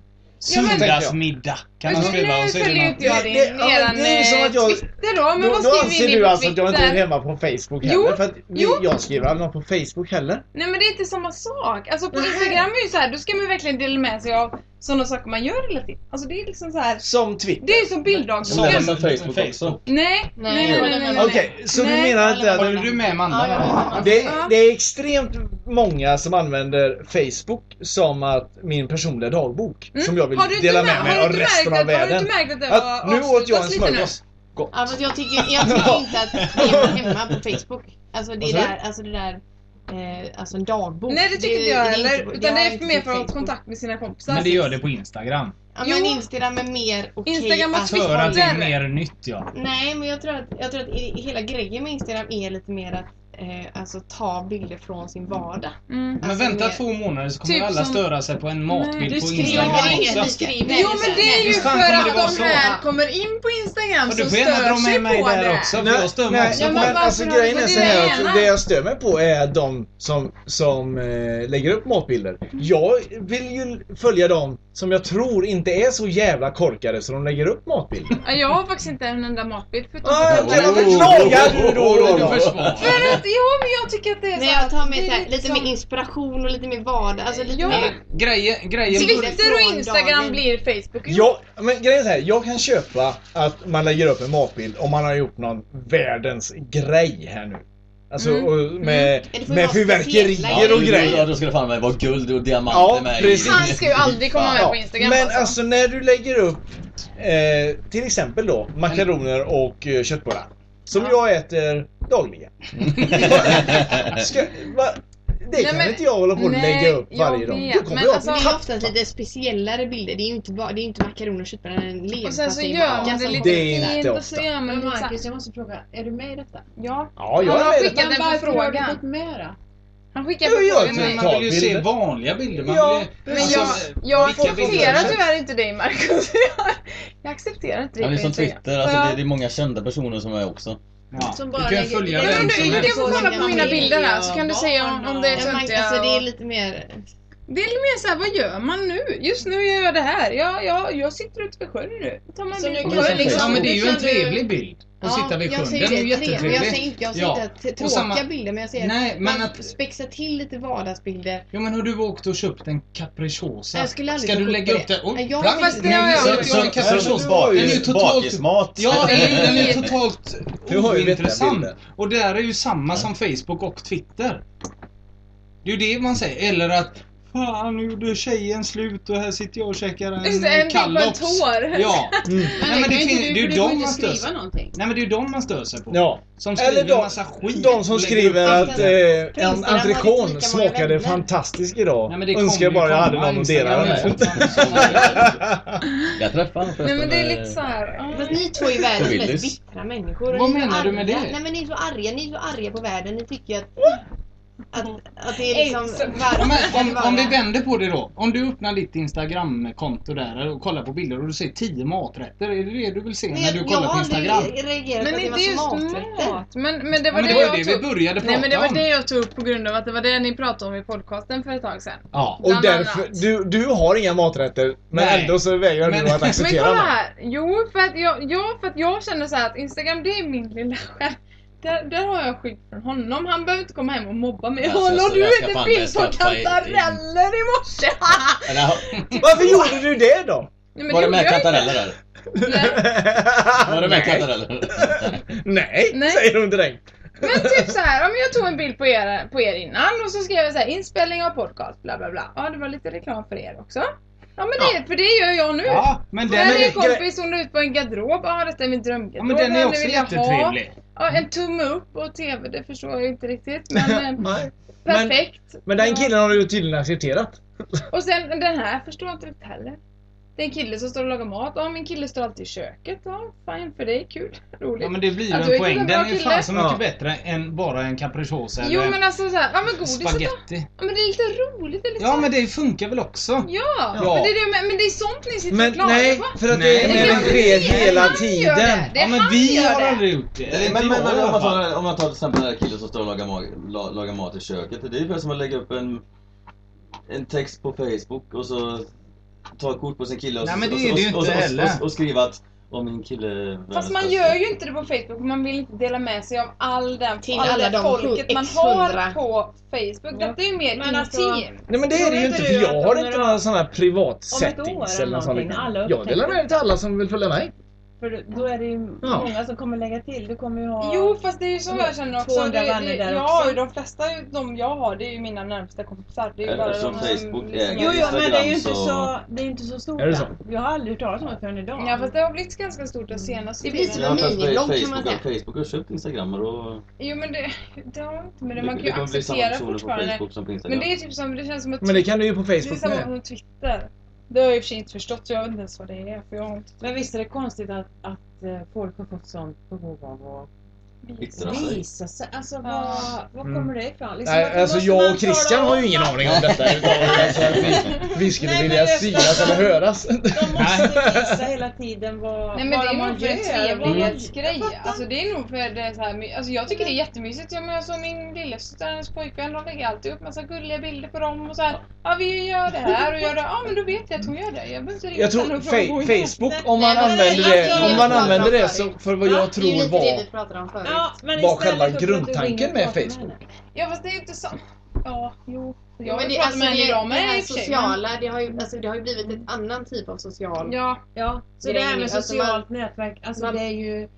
Speaker 7: Ja, men-
Speaker 3: tänkte jag.
Speaker 4: Söndagsmiddag kan
Speaker 7: Men
Speaker 4: han
Speaker 7: nu
Speaker 4: skriva och så är
Speaker 7: följer ju
Speaker 4: det
Speaker 7: inte jag
Speaker 3: Det-
Speaker 7: din,
Speaker 3: det- ja, men
Speaker 7: eran
Speaker 3: det är ju som
Speaker 7: eh,
Speaker 3: att jag-
Speaker 7: Twitter då, men
Speaker 3: Då,
Speaker 7: vad
Speaker 3: då
Speaker 7: skriver
Speaker 3: anser
Speaker 7: ni
Speaker 3: du
Speaker 7: på
Speaker 3: alltså att jag inte
Speaker 7: Twitter?
Speaker 3: är hemma på Facebook heller?
Speaker 7: Jo,
Speaker 3: för att vi-
Speaker 7: jo.
Speaker 3: jag skriver aldrig något på Facebook heller.
Speaker 7: Nej men det är inte samma sak. Alltså på Instagram är ju så här, då ska man verkligen dela med sig av sådana saker man gör hela tiden. Alltså det är liksom så här.
Speaker 3: Som Twitter.
Speaker 7: Det är ju som
Speaker 5: Som
Speaker 7: bilddagsprogram.
Speaker 5: lämnar Facebook också.
Speaker 7: Nej, nej, nej, nej, nej, nej.
Speaker 3: Okej, så du
Speaker 7: Nej.
Speaker 3: menar inte att...
Speaker 4: Håller du med Amanda?
Speaker 6: Ja, jag håller med.
Speaker 3: Det,
Speaker 7: Ja.
Speaker 3: det är extremt många som använder Facebook som att min personliga dagbok
Speaker 7: Mm.
Speaker 3: som jag vill
Speaker 7: Har du inte
Speaker 3: dela
Speaker 7: mär-
Speaker 3: med mig
Speaker 7: har
Speaker 3: av
Speaker 7: du inte
Speaker 3: resten
Speaker 7: märkt
Speaker 3: av
Speaker 7: att- Har du
Speaker 3: världen.
Speaker 7: inte märkt att det
Speaker 3: Att
Speaker 7: var
Speaker 3: nu åt jag en
Speaker 7: avslutas lite nu?
Speaker 3: smörgås. Gott.
Speaker 6: Ja, fast jag tycker, jag tycker inte att det är hemma på Facebook. Alltså det
Speaker 3: Vad sa du?
Speaker 6: där, alltså det där, eh, alltså en dagbok.
Speaker 7: Nej det tycker
Speaker 6: är-
Speaker 7: inte jag
Speaker 6: är
Speaker 7: heller.
Speaker 6: inte på-
Speaker 7: Utan det
Speaker 6: har
Speaker 7: är
Speaker 6: inte
Speaker 7: mer
Speaker 6: på
Speaker 7: för att ha
Speaker 6: Facebook.
Speaker 7: kontakt med sina kompisar. Mm.
Speaker 4: Men det gör det på Instagram.
Speaker 6: Ja men
Speaker 7: Jo.
Speaker 6: Instagram är mer okej Alltså,
Speaker 7: Instagram och
Speaker 6: att-
Speaker 7: Twitter.
Speaker 4: För att det är
Speaker 7: Twitter.
Speaker 4: mer nytt ja.
Speaker 6: Nej men jag tror att, jag tror att i- hela grejen med Instagram är lite mer att eh, alltså ta bilder från sin vardag.
Speaker 4: Men
Speaker 6: Alltså,
Speaker 4: vänta
Speaker 6: med-
Speaker 4: två månader så kommer
Speaker 6: Typ
Speaker 4: alla
Speaker 6: som-
Speaker 4: störa sig på en matbild
Speaker 6: du
Speaker 4: på
Speaker 6: skriver
Speaker 4: Instagram
Speaker 6: inget,
Speaker 4: också.
Speaker 6: du skriver
Speaker 1: Jo men det är ju
Speaker 4: Visst
Speaker 1: för
Speaker 4: fan kommer det vara
Speaker 1: att de
Speaker 4: så?
Speaker 1: här kommer in på Instagram
Speaker 4: Men du
Speaker 1: som
Speaker 4: får gärna dra
Speaker 1: stör
Speaker 4: med
Speaker 1: sig
Speaker 4: mig
Speaker 1: på
Speaker 4: där
Speaker 1: det.
Speaker 4: också, för jag stör mig också på
Speaker 3: men
Speaker 4: det.
Speaker 3: alltså
Speaker 1: varför har
Speaker 3: grejen
Speaker 1: du
Speaker 3: är
Speaker 1: fått
Speaker 3: så här
Speaker 1: det ena?
Speaker 3: att det jag stör mig på är de som, som eh, lägger upp matbilder. Jag vill ju följa dem som jag tror inte är så jävla korkade så de lägger upp matbilder.
Speaker 7: Ja, Jag har faktiskt inte en enda matbild förutom
Speaker 3: Ah,
Speaker 7: på
Speaker 3: okej,
Speaker 7: datorn.
Speaker 3: men klagar du då och då?
Speaker 7: För att, jo men jag tycker att det är
Speaker 6: Men
Speaker 7: så
Speaker 6: jag tar
Speaker 7: att
Speaker 6: med
Speaker 7: det
Speaker 6: så
Speaker 7: är
Speaker 6: här, lite
Speaker 7: liksom-
Speaker 6: mer inspiration och lite mer vardag. Alltså lite
Speaker 7: Ja.
Speaker 6: mer...
Speaker 4: Grejer, grejer
Speaker 7: Twitter och Instagram
Speaker 6: Dagen.
Speaker 7: blir Facebook.
Speaker 3: Jag, men grejen är så här, jag kan köpa att man lägger upp en matbild om man har gjort någon världens grej här nu. Alltså
Speaker 6: Mm.
Speaker 3: och med,
Speaker 6: Ja, det får ju
Speaker 3: med
Speaker 6: vara speciella
Speaker 3: fyrverkerier
Speaker 6: grejer.
Speaker 3: och grejer.
Speaker 5: Ja, då skulle det fan mig vara guld och diamanter
Speaker 3: Ja,
Speaker 5: med i.
Speaker 3: precis.
Speaker 7: Han ska ju aldrig komma med på Instagram.
Speaker 3: Men alltså. när du lägger upp eh, till exempel då makaroner och eh, köttbullar. Som jag äter dagligen. Ska, va, det
Speaker 6: Nej,
Speaker 3: kan
Speaker 6: men-
Speaker 3: väl inte jag hålla på och lägga upp varje dag? Då kommer jag
Speaker 7: Alltså,
Speaker 6: det är ju
Speaker 3: tappa.
Speaker 6: oftast lite speciellare bilder. Det är ju inte, bara, det är ju inte makaroner och köttbullar eller en leverpastej.
Speaker 7: Och sen så
Speaker 6: i
Speaker 7: gör
Speaker 6: macka
Speaker 7: man det
Speaker 6: som-
Speaker 7: lite
Speaker 3: Det är inte
Speaker 7: fint och så
Speaker 3: ofta.
Speaker 7: gör man
Speaker 14: Men
Speaker 7: lite så här-
Speaker 14: Marcus, jag måste fråga, är du med i detta?
Speaker 7: Ja.
Speaker 3: Ja,
Speaker 7: han
Speaker 3: jag
Speaker 7: har
Speaker 3: är med. i
Speaker 7: skickat
Speaker 3: detta.
Speaker 14: Men
Speaker 7: en
Speaker 14: varför har du
Speaker 7: förfrågan.
Speaker 14: gått med då?
Speaker 7: Han skickar
Speaker 3: Jo, jag Alltså, tror
Speaker 7: förfrågan. till
Speaker 4: Men
Speaker 7: mig.
Speaker 4: man vill ju se
Speaker 3: Totalbilder.
Speaker 4: vanliga bilder. Man
Speaker 3: Ja,
Speaker 4: vill ju,
Speaker 7: Men jag, jag
Speaker 4: vilka bilder
Speaker 7: accepterar
Speaker 4: som helst.
Speaker 7: tyvärr inte dig Marcus. Jag, jag accepterar inte dig
Speaker 5: Ja, det är som
Speaker 7: Instagram.
Speaker 5: Twitter, alltså det,
Speaker 7: Ja.
Speaker 5: det är många kända personer som är också.
Speaker 4: Ja.
Speaker 14: Som
Speaker 4: Du
Speaker 14: bara
Speaker 4: kan
Speaker 14: lägger-
Speaker 4: följa
Speaker 7: Ja, men
Speaker 4: vem som
Speaker 7: du, du
Speaker 4: helst.
Speaker 7: kan få kolla på mina bilder här så kan du säga om, om det är
Speaker 6: Ja, man,
Speaker 7: töntiga
Speaker 6: alltså, det är
Speaker 7: och-
Speaker 6: lite mer...
Speaker 7: Det är lite mer såhär, vad gör man nu? Just nu gör jag det här. Jag, jag, jag sitter ute vid sjön nu. Tar man
Speaker 14: Så nu
Speaker 7: bild på
Speaker 14: kan
Speaker 7: sjön
Speaker 14: du
Speaker 7: liksom.
Speaker 4: Ja men det är ju en
Speaker 14: Kan du-
Speaker 4: trevlig bild. Att sitta vid sjön.
Speaker 6: jag
Speaker 4: Den
Speaker 6: säger
Speaker 4: är ju
Speaker 6: det, trevligt. Jag säger
Speaker 4: jättetrevlig.
Speaker 6: inte, jag säger
Speaker 4: Ja.
Speaker 6: inte att t- tråkiga
Speaker 4: Och samma-
Speaker 6: bilder men jag säger
Speaker 4: Nej,
Speaker 6: att
Speaker 4: men
Speaker 6: man
Speaker 4: att-
Speaker 6: spexar till lite vardagsbilder.
Speaker 4: Ja men har du åkt och köpt en capricciosa?
Speaker 6: Jag skulle aldrig
Speaker 4: Ska
Speaker 6: ta
Speaker 4: du
Speaker 6: kort
Speaker 4: lägga
Speaker 6: på
Speaker 4: upp
Speaker 6: det.
Speaker 4: det? Oj,
Speaker 6: Nej, jag
Speaker 4: bra.
Speaker 6: har faktiskt-
Speaker 4: Nu
Speaker 7: det har jag
Speaker 4: visar
Speaker 7: gjort.
Speaker 4: att jag har en capricciosa.
Speaker 5: bakis-
Speaker 4: Den är ju totalt...
Speaker 5: bakismat.
Speaker 4: Ja, den är, den är ju totalt
Speaker 3: Du har ju vettiga
Speaker 4: ointressant.
Speaker 3: bilder.
Speaker 4: Och där är ju samma som Facebook och Twitter. Det är ju det man säger. Eller att Fan, nu gjorde tjejen slut och här sitter jag och käkar en
Speaker 7: Just det, en bild på en
Speaker 4: Kallops."
Speaker 7: tår.
Speaker 4: Ja. Nej, men det,
Speaker 14: kan
Speaker 4: fin-
Speaker 14: inte
Speaker 4: det
Speaker 14: du,
Speaker 4: är
Speaker 14: för
Speaker 4: ju
Speaker 14: du får
Speaker 4: de
Speaker 14: inte
Speaker 4: man stör sig
Speaker 14: skriva någonting.
Speaker 4: Nej men det är ju de man stör sig på.
Speaker 3: Ja.
Speaker 4: Som skriver
Speaker 3: Eller
Speaker 4: Eller de,
Speaker 3: de,
Speaker 4: massa skit.
Speaker 3: de som
Speaker 4: och lägger
Speaker 3: skriver
Speaker 4: upp-
Speaker 3: att eh, en
Speaker 6: Instagram har inte lika
Speaker 3: entrecôte
Speaker 6: många
Speaker 3: smakade
Speaker 6: vänner.
Speaker 3: fantastisk idag.
Speaker 4: Nej, men det
Speaker 3: Önskar
Speaker 4: kommer
Speaker 3: bara
Speaker 4: ju
Speaker 3: jag hade
Speaker 4: komma.
Speaker 3: någon att dela
Speaker 4: Instagram
Speaker 3: den
Speaker 4: är
Speaker 3: med.
Speaker 5: Jag träffade honom
Speaker 7: Nej
Speaker 5: förresten.
Speaker 7: men det är
Speaker 5: eh,
Speaker 7: lite såhär. ah.
Speaker 6: Fast ni två är världens
Speaker 5: Willis.
Speaker 6: mest bittra människor. och
Speaker 4: Vad
Speaker 6: ni är så
Speaker 4: menar du med
Speaker 6: arga.
Speaker 4: det?
Speaker 6: Nej men ni är så arga, ni är så arga på världen. Ni tycker ju att, att, att det är liksom...
Speaker 7: Ensam.
Speaker 6: varför
Speaker 4: Ja,
Speaker 6: ska
Speaker 4: men
Speaker 6: det
Speaker 4: om,
Speaker 6: vara-
Speaker 4: om vi vänder på det då. Om du öppnar ditt Instagram-konto där och kollar på bilder och du ser 10 maträtter. Är det det du vill se
Speaker 6: Men
Speaker 4: när
Speaker 6: jag-
Speaker 4: du kollar på Instagram?
Speaker 6: Jag har aldrig reagerat
Speaker 7: Men
Speaker 6: på
Speaker 7: inte
Speaker 6: att det
Speaker 7: just
Speaker 6: var så maträtter.
Speaker 7: mat. Men, men det
Speaker 4: Ja,
Speaker 7: var
Speaker 4: men
Speaker 7: det
Speaker 4: det var ju
Speaker 7: jag
Speaker 4: det vi
Speaker 7: tog upp.
Speaker 4: började prata
Speaker 7: Nej men det var
Speaker 4: om.
Speaker 7: det jag tog upp på grund av att det var det ni pratade om i podcasten för ett tag sedan.
Speaker 4: Ja.
Speaker 3: Och
Speaker 7: Bland
Speaker 3: därför,
Speaker 7: annat.
Speaker 3: du, du har inga maträtter men
Speaker 4: Nej.
Speaker 3: ändå så vägrar
Speaker 4: Men-
Speaker 3: du att
Speaker 7: Men
Speaker 3: acceptera
Speaker 7: kolla
Speaker 3: mig.
Speaker 7: här! Jo, för att jag, ja, för att jag känner så här att Instagram det är min lilla själ. Där, där har jag skydd från honom. Han behöver inte komma hem och mobba mig.
Speaker 5: Alltså,
Speaker 7: Alltså,
Speaker 5: så
Speaker 7: du
Speaker 5: jag
Speaker 7: vet
Speaker 5: ska
Speaker 7: en
Speaker 5: fan
Speaker 7: bild på
Speaker 5: skaffa en-
Speaker 7: kantareller i morse!
Speaker 5: eller, ha-
Speaker 3: Varför gjorde du det då?
Speaker 7: Nej, men
Speaker 5: Var det
Speaker 7: gjorde
Speaker 5: med
Speaker 7: jag inte.
Speaker 5: kantareller där? Var det med kantareller?
Speaker 3: Nej,
Speaker 7: Nej.
Speaker 3: säger hon direkt.
Speaker 7: Men typ så här, om jag tog en bild på er, på er innan och så skrev jag så här inspelning av podcast bla bla bla. Ja, det var lite reklam för er också. Ja men det, för det gör jag nu.
Speaker 4: Ja, men
Speaker 7: Här
Speaker 4: den
Speaker 7: är en
Speaker 4: är,
Speaker 7: kompis, hon är ute på en garderob. Ja, detta är min
Speaker 4: ja,
Speaker 7: drömgarderob.
Speaker 4: men den är
Speaker 7: nu
Speaker 4: också
Speaker 7: vill jag ha.
Speaker 4: jättetrevlig.
Speaker 7: Ja, en tumme upp och TV, det förstår jag inte riktigt. Men eh,
Speaker 3: Nej. Men-
Speaker 7: perfekt.
Speaker 3: Men den killen har du tydligen accepterat.
Speaker 7: Och sen den här förstår jag inte riktigt heller. Det är en kille som står och lagar mat. Ja, min kille står alltid i köket. Ja, fine för dig. Kul. Roligt.
Speaker 4: Ja men det blir ju
Speaker 7: Ja, du är
Speaker 4: en poäng. Den
Speaker 7: en bra
Speaker 4: är ju
Speaker 7: kille.
Speaker 4: fan så mycket
Speaker 3: Ja.
Speaker 4: bättre än bara en capricciosa
Speaker 7: jo
Speaker 4: eller
Speaker 7: men alltså såhär, ja men godiset då.
Speaker 4: spaghetti.
Speaker 7: Ja, men det är lite roligt. Det är lite
Speaker 4: Ja
Speaker 7: så-
Speaker 4: men det funkar väl också?
Speaker 7: Ja,
Speaker 4: Ja.
Speaker 7: Men, det är det, men, men det är sånt ni sitter
Speaker 3: Men
Speaker 7: och klagar
Speaker 3: nej,
Speaker 7: på.
Speaker 3: för att
Speaker 4: Nej.
Speaker 3: det är
Speaker 7: Det
Speaker 3: när
Speaker 7: är
Speaker 3: det sker
Speaker 7: han
Speaker 3: hela
Speaker 7: gör
Speaker 3: tiden.
Speaker 7: Det, det är
Speaker 4: Ja men
Speaker 7: han
Speaker 4: vi
Speaker 7: gör
Speaker 4: har
Speaker 7: det.
Speaker 4: aldrig gjort det. Eller
Speaker 5: Men,
Speaker 4: inte
Speaker 5: men,
Speaker 4: jag i
Speaker 5: men om,
Speaker 4: alla
Speaker 5: man
Speaker 4: fall.
Speaker 5: tar, om man tar till exempel den här killen som står och lagar, mag, la, lagar mat i köket. Det är ju som att lägga upp en, en text på Facebook och så ta ett kort på sin kille och,
Speaker 4: Nej,
Speaker 5: så-
Speaker 4: men det
Speaker 5: och,
Speaker 4: är det ju
Speaker 5: och,
Speaker 4: inte
Speaker 5: och, och,
Speaker 4: heller.
Speaker 5: och, och skriva att om min kille...
Speaker 7: Fast man gör ju inte det på Facebook, man vill inte dela med sig av all den
Speaker 6: Till
Speaker 7: all
Speaker 6: alla
Speaker 7: det
Speaker 6: de
Speaker 7: folket man
Speaker 6: hundra.
Speaker 7: har på Facebook. Detta är ju mer
Speaker 14: Men alltså,
Speaker 7: intimt.
Speaker 3: Nej men det är det ju
Speaker 14: Tror
Speaker 3: inte
Speaker 14: inte
Speaker 3: för
Speaker 14: du
Speaker 3: jag
Speaker 14: att
Speaker 3: har
Speaker 14: om
Speaker 3: inte
Speaker 14: det
Speaker 3: några
Speaker 14: var-
Speaker 3: sådana här privat
Speaker 14: år eller
Speaker 3: settings eller något sånt.
Speaker 14: någonting, alla
Speaker 3: liknande. Jag
Speaker 14: upptäcker
Speaker 3: delar med
Speaker 14: det.
Speaker 3: mig till alla som vill följa mig.
Speaker 14: För då är det ju
Speaker 3: Ja.
Speaker 14: många som kommer lägga till. Du kommer ju ha...
Speaker 7: Jo fast det är ju så jag känner också.
Speaker 14: 200
Speaker 7: Det, det,
Speaker 14: vänner där
Speaker 7: ja,
Speaker 14: också.
Speaker 7: de flesta de jag har det är ju mina närmsta kompisar. Det är ju bara
Speaker 5: Eftersom
Speaker 7: de liksom-
Speaker 5: Facebook äger
Speaker 14: Jo, jo, men det är ju
Speaker 5: Instagram
Speaker 14: inte
Speaker 5: så-
Speaker 14: så, det är ju inte så stort.
Speaker 3: Alltså- Är det så?
Speaker 14: än. Jag har aldrig hört talas om det förrän idag.
Speaker 7: Ja fast det har blivit ganska stort den senaste
Speaker 6: Det blir
Speaker 7: tiden.
Speaker 6: som
Speaker 5: Ja,
Speaker 6: en
Speaker 5: fast
Speaker 6: minilogg kan
Speaker 5: Facebook,
Speaker 6: man säga.
Speaker 5: Facebook har köpt Instagram och då...
Speaker 7: Jo men det, det har inte med det. Man
Speaker 5: det
Speaker 7: kan ju
Speaker 5: kommer bli samma
Speaker 7: acceptera
Speaker 5: personer på
Speaker 7: fortfarande.
Speaker 5: Facebook som på Instagram.
Speaker 7: Men det är typ som, det känns som att
Speaker 3: Men det kan du ju på
Speaker 7: det är
Speaker 3: Facebook
Speaker 7: samma
Speaker 3: med.
Speaker 7: som Twitter. Det har jag i och för sig inte förstått, så jag vet inte ens vad det är. För jag har inte...
Speaker 14: Men visst är det konstigt att, att eh, folk har fått sånt behov av att
Speaker 5: yttra sig.
Speaker 1: Visa sig. Alltså vad, vad kommer det ifrån? Liksom,
Speaker 3: Mm. Nej,
Speaker 1: varför
Speaker 3: alltså
Speaker 1: måste
Speaker 3: jag
Speaker 1: man
Speaker 3: och Christian
Speaker 1: tala
Speaker 3: har ju
Speaker 1: om
Speaker 3: ingen
Speaker 1: allt?
Speaker 3: aning om detta. utan Alltså, vi, vi skulle
Speaker 1: Nej, men
Speaker 3: vilja
Speaker 1: det-
Speaker 3: synas eller höras.
Speaker 1: De måste visa hela tiden vad,
Speaker 7: Nej men det
Speaker 1: vad
Speaker 7: är
Speaker 1: man
Speaker 7: nog för en
Speaker 1: gör. vad man-
Speaker 7: trevlighetsgrej. Alltså det är nog för det är så här, my- alltså jag tycker det är jättemysigt. Jag menar som min lillasyster och hennes pojkvän, de lägger alltid upp massa gulliga bilder på dem och så här. Ja vi gör det här och gör det. Ja men då vet jag att hon gör det. Jag behöver inte ringa
Speaker 3: Jag tror
Speaker 7: henne och fråga.
Speaker 3: fe- Facebook, om man använder
Speaker 6: Alltså,
Speaker 3: det, om man använder det så, för vad jag tror var,
Speaker 7: pratade om förut.
Speaker 3: var själva grundtanken med Facebook.
Speaker 7: Ja fast det är ju inte så. Ja, jo.
Speaker 6: Ja,
Speaker 7: Jag
Speaker 6: men
Speaker 7: vill
Speaker 6: det,
Speaker 7: prata
Speaker 6: alltså,
Speaker 7: med henne
Speaker 6: det,
Speaker 7: idag
Speaker 6: det här
Speaker 7: med i och för sig, men-
Speaker 6: sociala, det har, ju, alltså, det har ju blivit en annan typ av social...
Speaker 7: Ja.
Speaker 1: ja. Så det här med
Speaker 7: Alltså,
Speaker 1: socialt nätverk, alltså det är ju...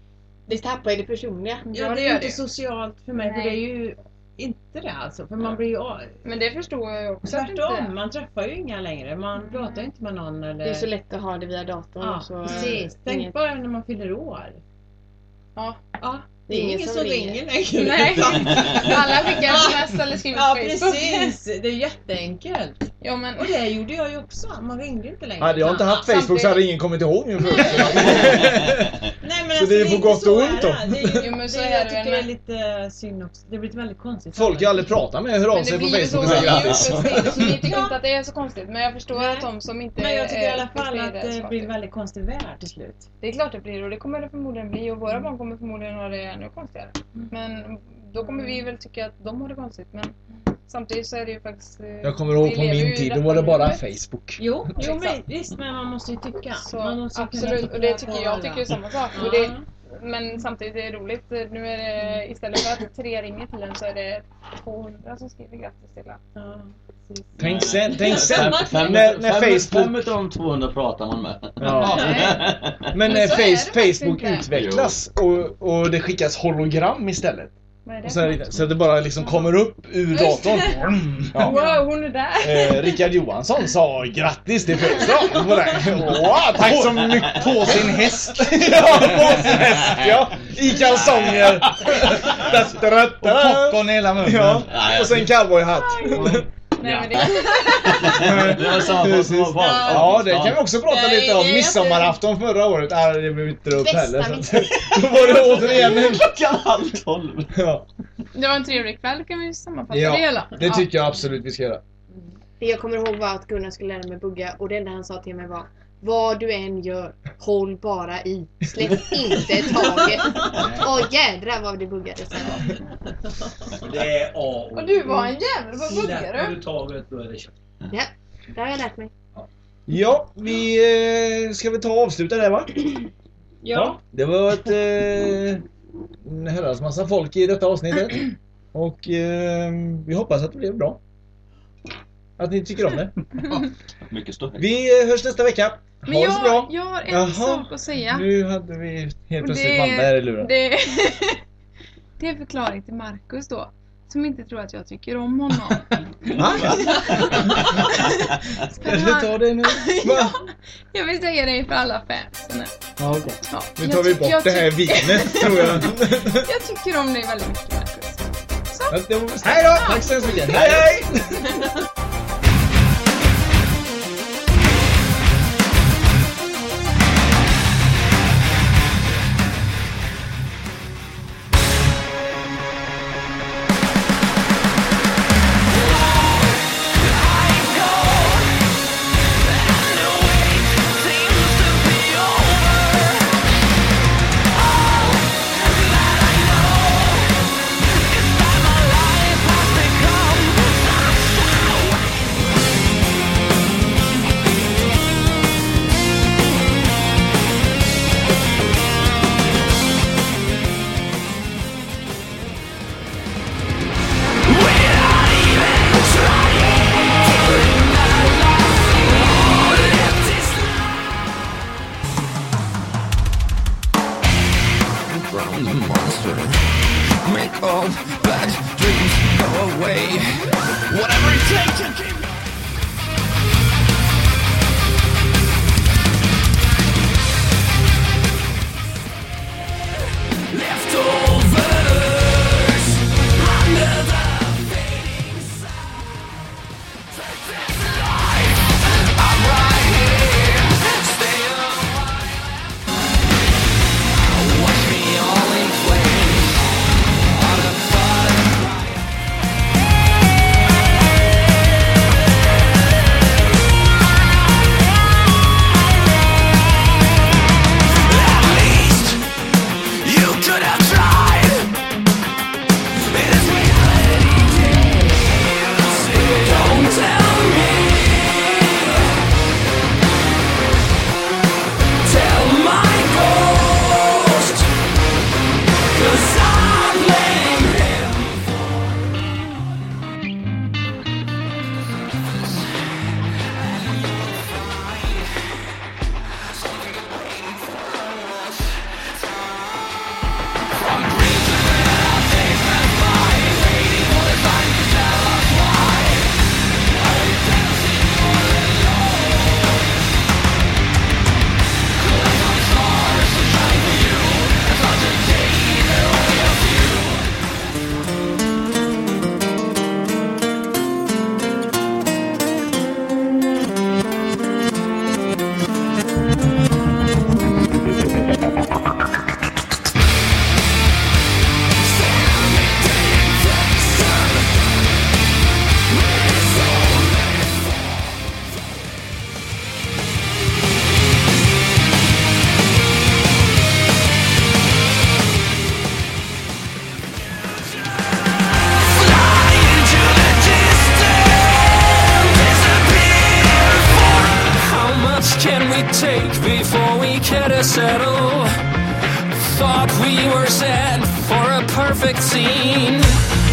Speaker 6: Det tappar ju det personliga.
Speaker 1: Ja, det är ju inte socialt för mig för det är ju inte det alltså. För man blir ju av-
Speaker 7: Men det förstår jag ju också att det inte är.
Speaker 1: tvärtom. Man träffar ju inga längre. Man pratar ju inte med någon. Eller...
Speaker 6: Det är så lätt att ha det via datorn.
Speaker 1: Ja,
Speaker 6: och så, Mm.
Speaker 1: precis. Tänk
Speaker 6: Inget-
Speaker 1: bara när man fyller år.
Speaker 7: Ja.
Speaker 1: ja.
Speaker 6: Det är ingen som ringer.
Speaker 1: längre.
Speaker 7: Nej. Alla skickar sms eller skriver
Speaker 1: ja,
Speaker 7: på
Speaker 1: Ja,
Speaker 7: Facebook.
Speaker 1: precis. Det är jätteenkelt.
Speaker 7: Ja, men...
Speaker 1: Och det gjorde jag ju också. Man ringde inte längre.
Speaker 3: Hade jag inte haft Facebook så hade ingen kommit ihåg min fråga.
Speaker 1: Nej, men
Speaker 3: Så det är på gott
Speaker 1: så
Speaker 3: och
Speaker 1: är
Speaker 3: ont
Speaker 1: det.
Speaker 3: då.
Speaker 1: Det är ju,
Speaker 7: Jo, men så
Speaker 1: det,
Speaker 7: är
Speaker 1: jag
Speaker 7: det
Speaker 1: tycker
Speaker 7: väl
Speaker 1: det är
Speaker 7: med.
Speaker 1: lite synd också. Det blir ett väldigt konstigt
Speaker 3: Folk jag aldrig pratar med hör av
Speaker 7: Men det
Speaker 3: sig på
Speaker 7: blir ju så
Speaker 3: Facebook och säger grattis.
Speaker 7: Så jag tycker inte att det är så konstigt men jag förstår att de som inte
Speaker 1: Men jag tycker i
Speaker 7: är
Speaker 1: alla fall
Speaker 7: uppfostrade
Speaker 1: att
Speaker 7: är
Speaker 1: det
Speaker 7: smarta.
Speaker 1: blir en väldigt konstig värld till slut.
Speaker 7: Det är klart det blir och det kommer det förmodligen bli och
Speaker 1: Mm.
Speaker 7: våra barn kommer förmodligen ha det ännu konstigare. Men då kommer vi väl tycka att de har det konstigt men samtidigt så är det ju faktiskt... eh,
Speaker 3: Jag kommer ihåg
Speaker 7: vi
Speaker 3: på
Speaker 7: lever ju
Speaker 3: min
Speaker 7: i
Speaker 3: tid, då
Speaker 7: detta
Speaker 3: var det bara
Speaker 7: nuet.
Speaker 3: Facebook.
Speaker 1: Jo, jo men,
Speaker 7: Exakt.
Speaker 1: visst men man måste ju tycka.
Speaker 7: Så,
Speaker 1: man måste ju kunna
Speaker 7: absolut,
Speaker 1: tycka
Speaker 7: och det tycker jag
Speaker 1: på
Speaker 7: tycker ju
Speaker 1: alla.
Speaker 7: samma sak. Och det, men samtidigt är det roligt. Nu är
Speaker 1: Mm.
Speaker 7: det, istället för att tre ringer till en så är det 200 som skriver grattis till en.
Speaker 3: Tänk sen, tänk sen.
Speaker 5: Fem- fem-
Speaker 3: När, när
Speaker 5: fem-
Speaker 3: Facebook...
Speaker 5: Fem utav de 200 pratar man med.
Speaker 3: Ja. Men när face, Facebook utvecklas och, och det skickas hologram istället.
Speaker 7: Vad är det?
Speaker 3: Och så, är det, så att det bara liksom kommer upp ur
Speaker 7: Just det.
Speaker 3: datorn. Ja.
Speaker 7: Wow, hon är där!
Speaker 3: Eh, Rickard Johansson sa grattis till födelsedagen på dig. Wow, tack så mycket! På sin häst. ja, på sin häst ja. I kalsonger. Och popcorn
Speaker 4: i hela munnen.
Speaker 3: Ja. Och sen cowboyhatt.
Speaker 7: Nej, men det
Speaker 5: Det var samma sak som var barn.
Speaker 3: Ja, det kan vi också prata
Speaker 1: Nej,
Speaker 3: lite om.
Speaker 1: det är
Speaker 3: Midsommarafton förra året. Ah, det blev inte upp
Speaker 1: Bästa
Speaker 3: heller. Så. att- Då var det återigen en...
Speaker 5: Klockan halv tolv.
Speaker 3: Ja,
Speaker 7: Det var en trevlig kväll kan vi sammanfatta det
Speaker 3: ja
Speaker 7: hela.
Speaker 3: det tycker jag absolut vi ska göra.
Speaker 6: Det jag kommer ihåg var att Gunnar skulle lära mig bugga och det enda han sa till mig var Vad du än gör, håll bara i. Släpp inte taget. Åh jädrar vad det buggade sen.
Speaker 15: Det är A
Speaker 7: Och du var en jävel, vad buggar
Speaker 15: Släpper
Speaker 7: du?
Speaker 15: du taget då är det kört.
Speaker 6: Ja, det har jag lärt mig.
Speaker 3: Ja, vi eh, ska vi ta och avsluta där va?
Speaker 1: Ja.
Speaker 3: Det var ett eh, en herrans massa folk i detta avsnittet. Och eh, vi hoppas att det blev bra. Att ni tycker om det.
Speaker 5: Mycket större.
Speaker 3: Vi eh, hörs nästa vecka. Ha
Speaker 7: Men
Speaker 3: det så bra.
Speaker 7: jag, jag har en
Speaker 3: Jaha.
Speaker 7: sak att säga.
Speaker 3: Nu hade vi helt
Speaker 7: Och
Speaker 3: plötsligt Malmberg här i luren.
Speaker 7: Det, det är förklaring till Marcus då. Som inte tror att jag tycker om honom.
Speaker 3: Eller ta det nu. Va?
Speaker 7: Jag vill säga det för alla fansen.
Speaker 3: Ja, okej.
Speaker 7: Ja,
Speaker 3: Nu
Speaker 7: jag
Speaker 3: tar vi
Speaker 7: tyck- jag
Speaker 3: bort det här
Speaker 7: tyck-
Speaker 3: vinet tror jag.
Speaker 7: Jag tycker om dig väldigt mycket Marcus.
Speaker 3: Det var- Hej då! Tack så hemskt mycket. Hej hej!
Speaker 2: Become it take before we could have settled? Thought we were set for a perfect scene.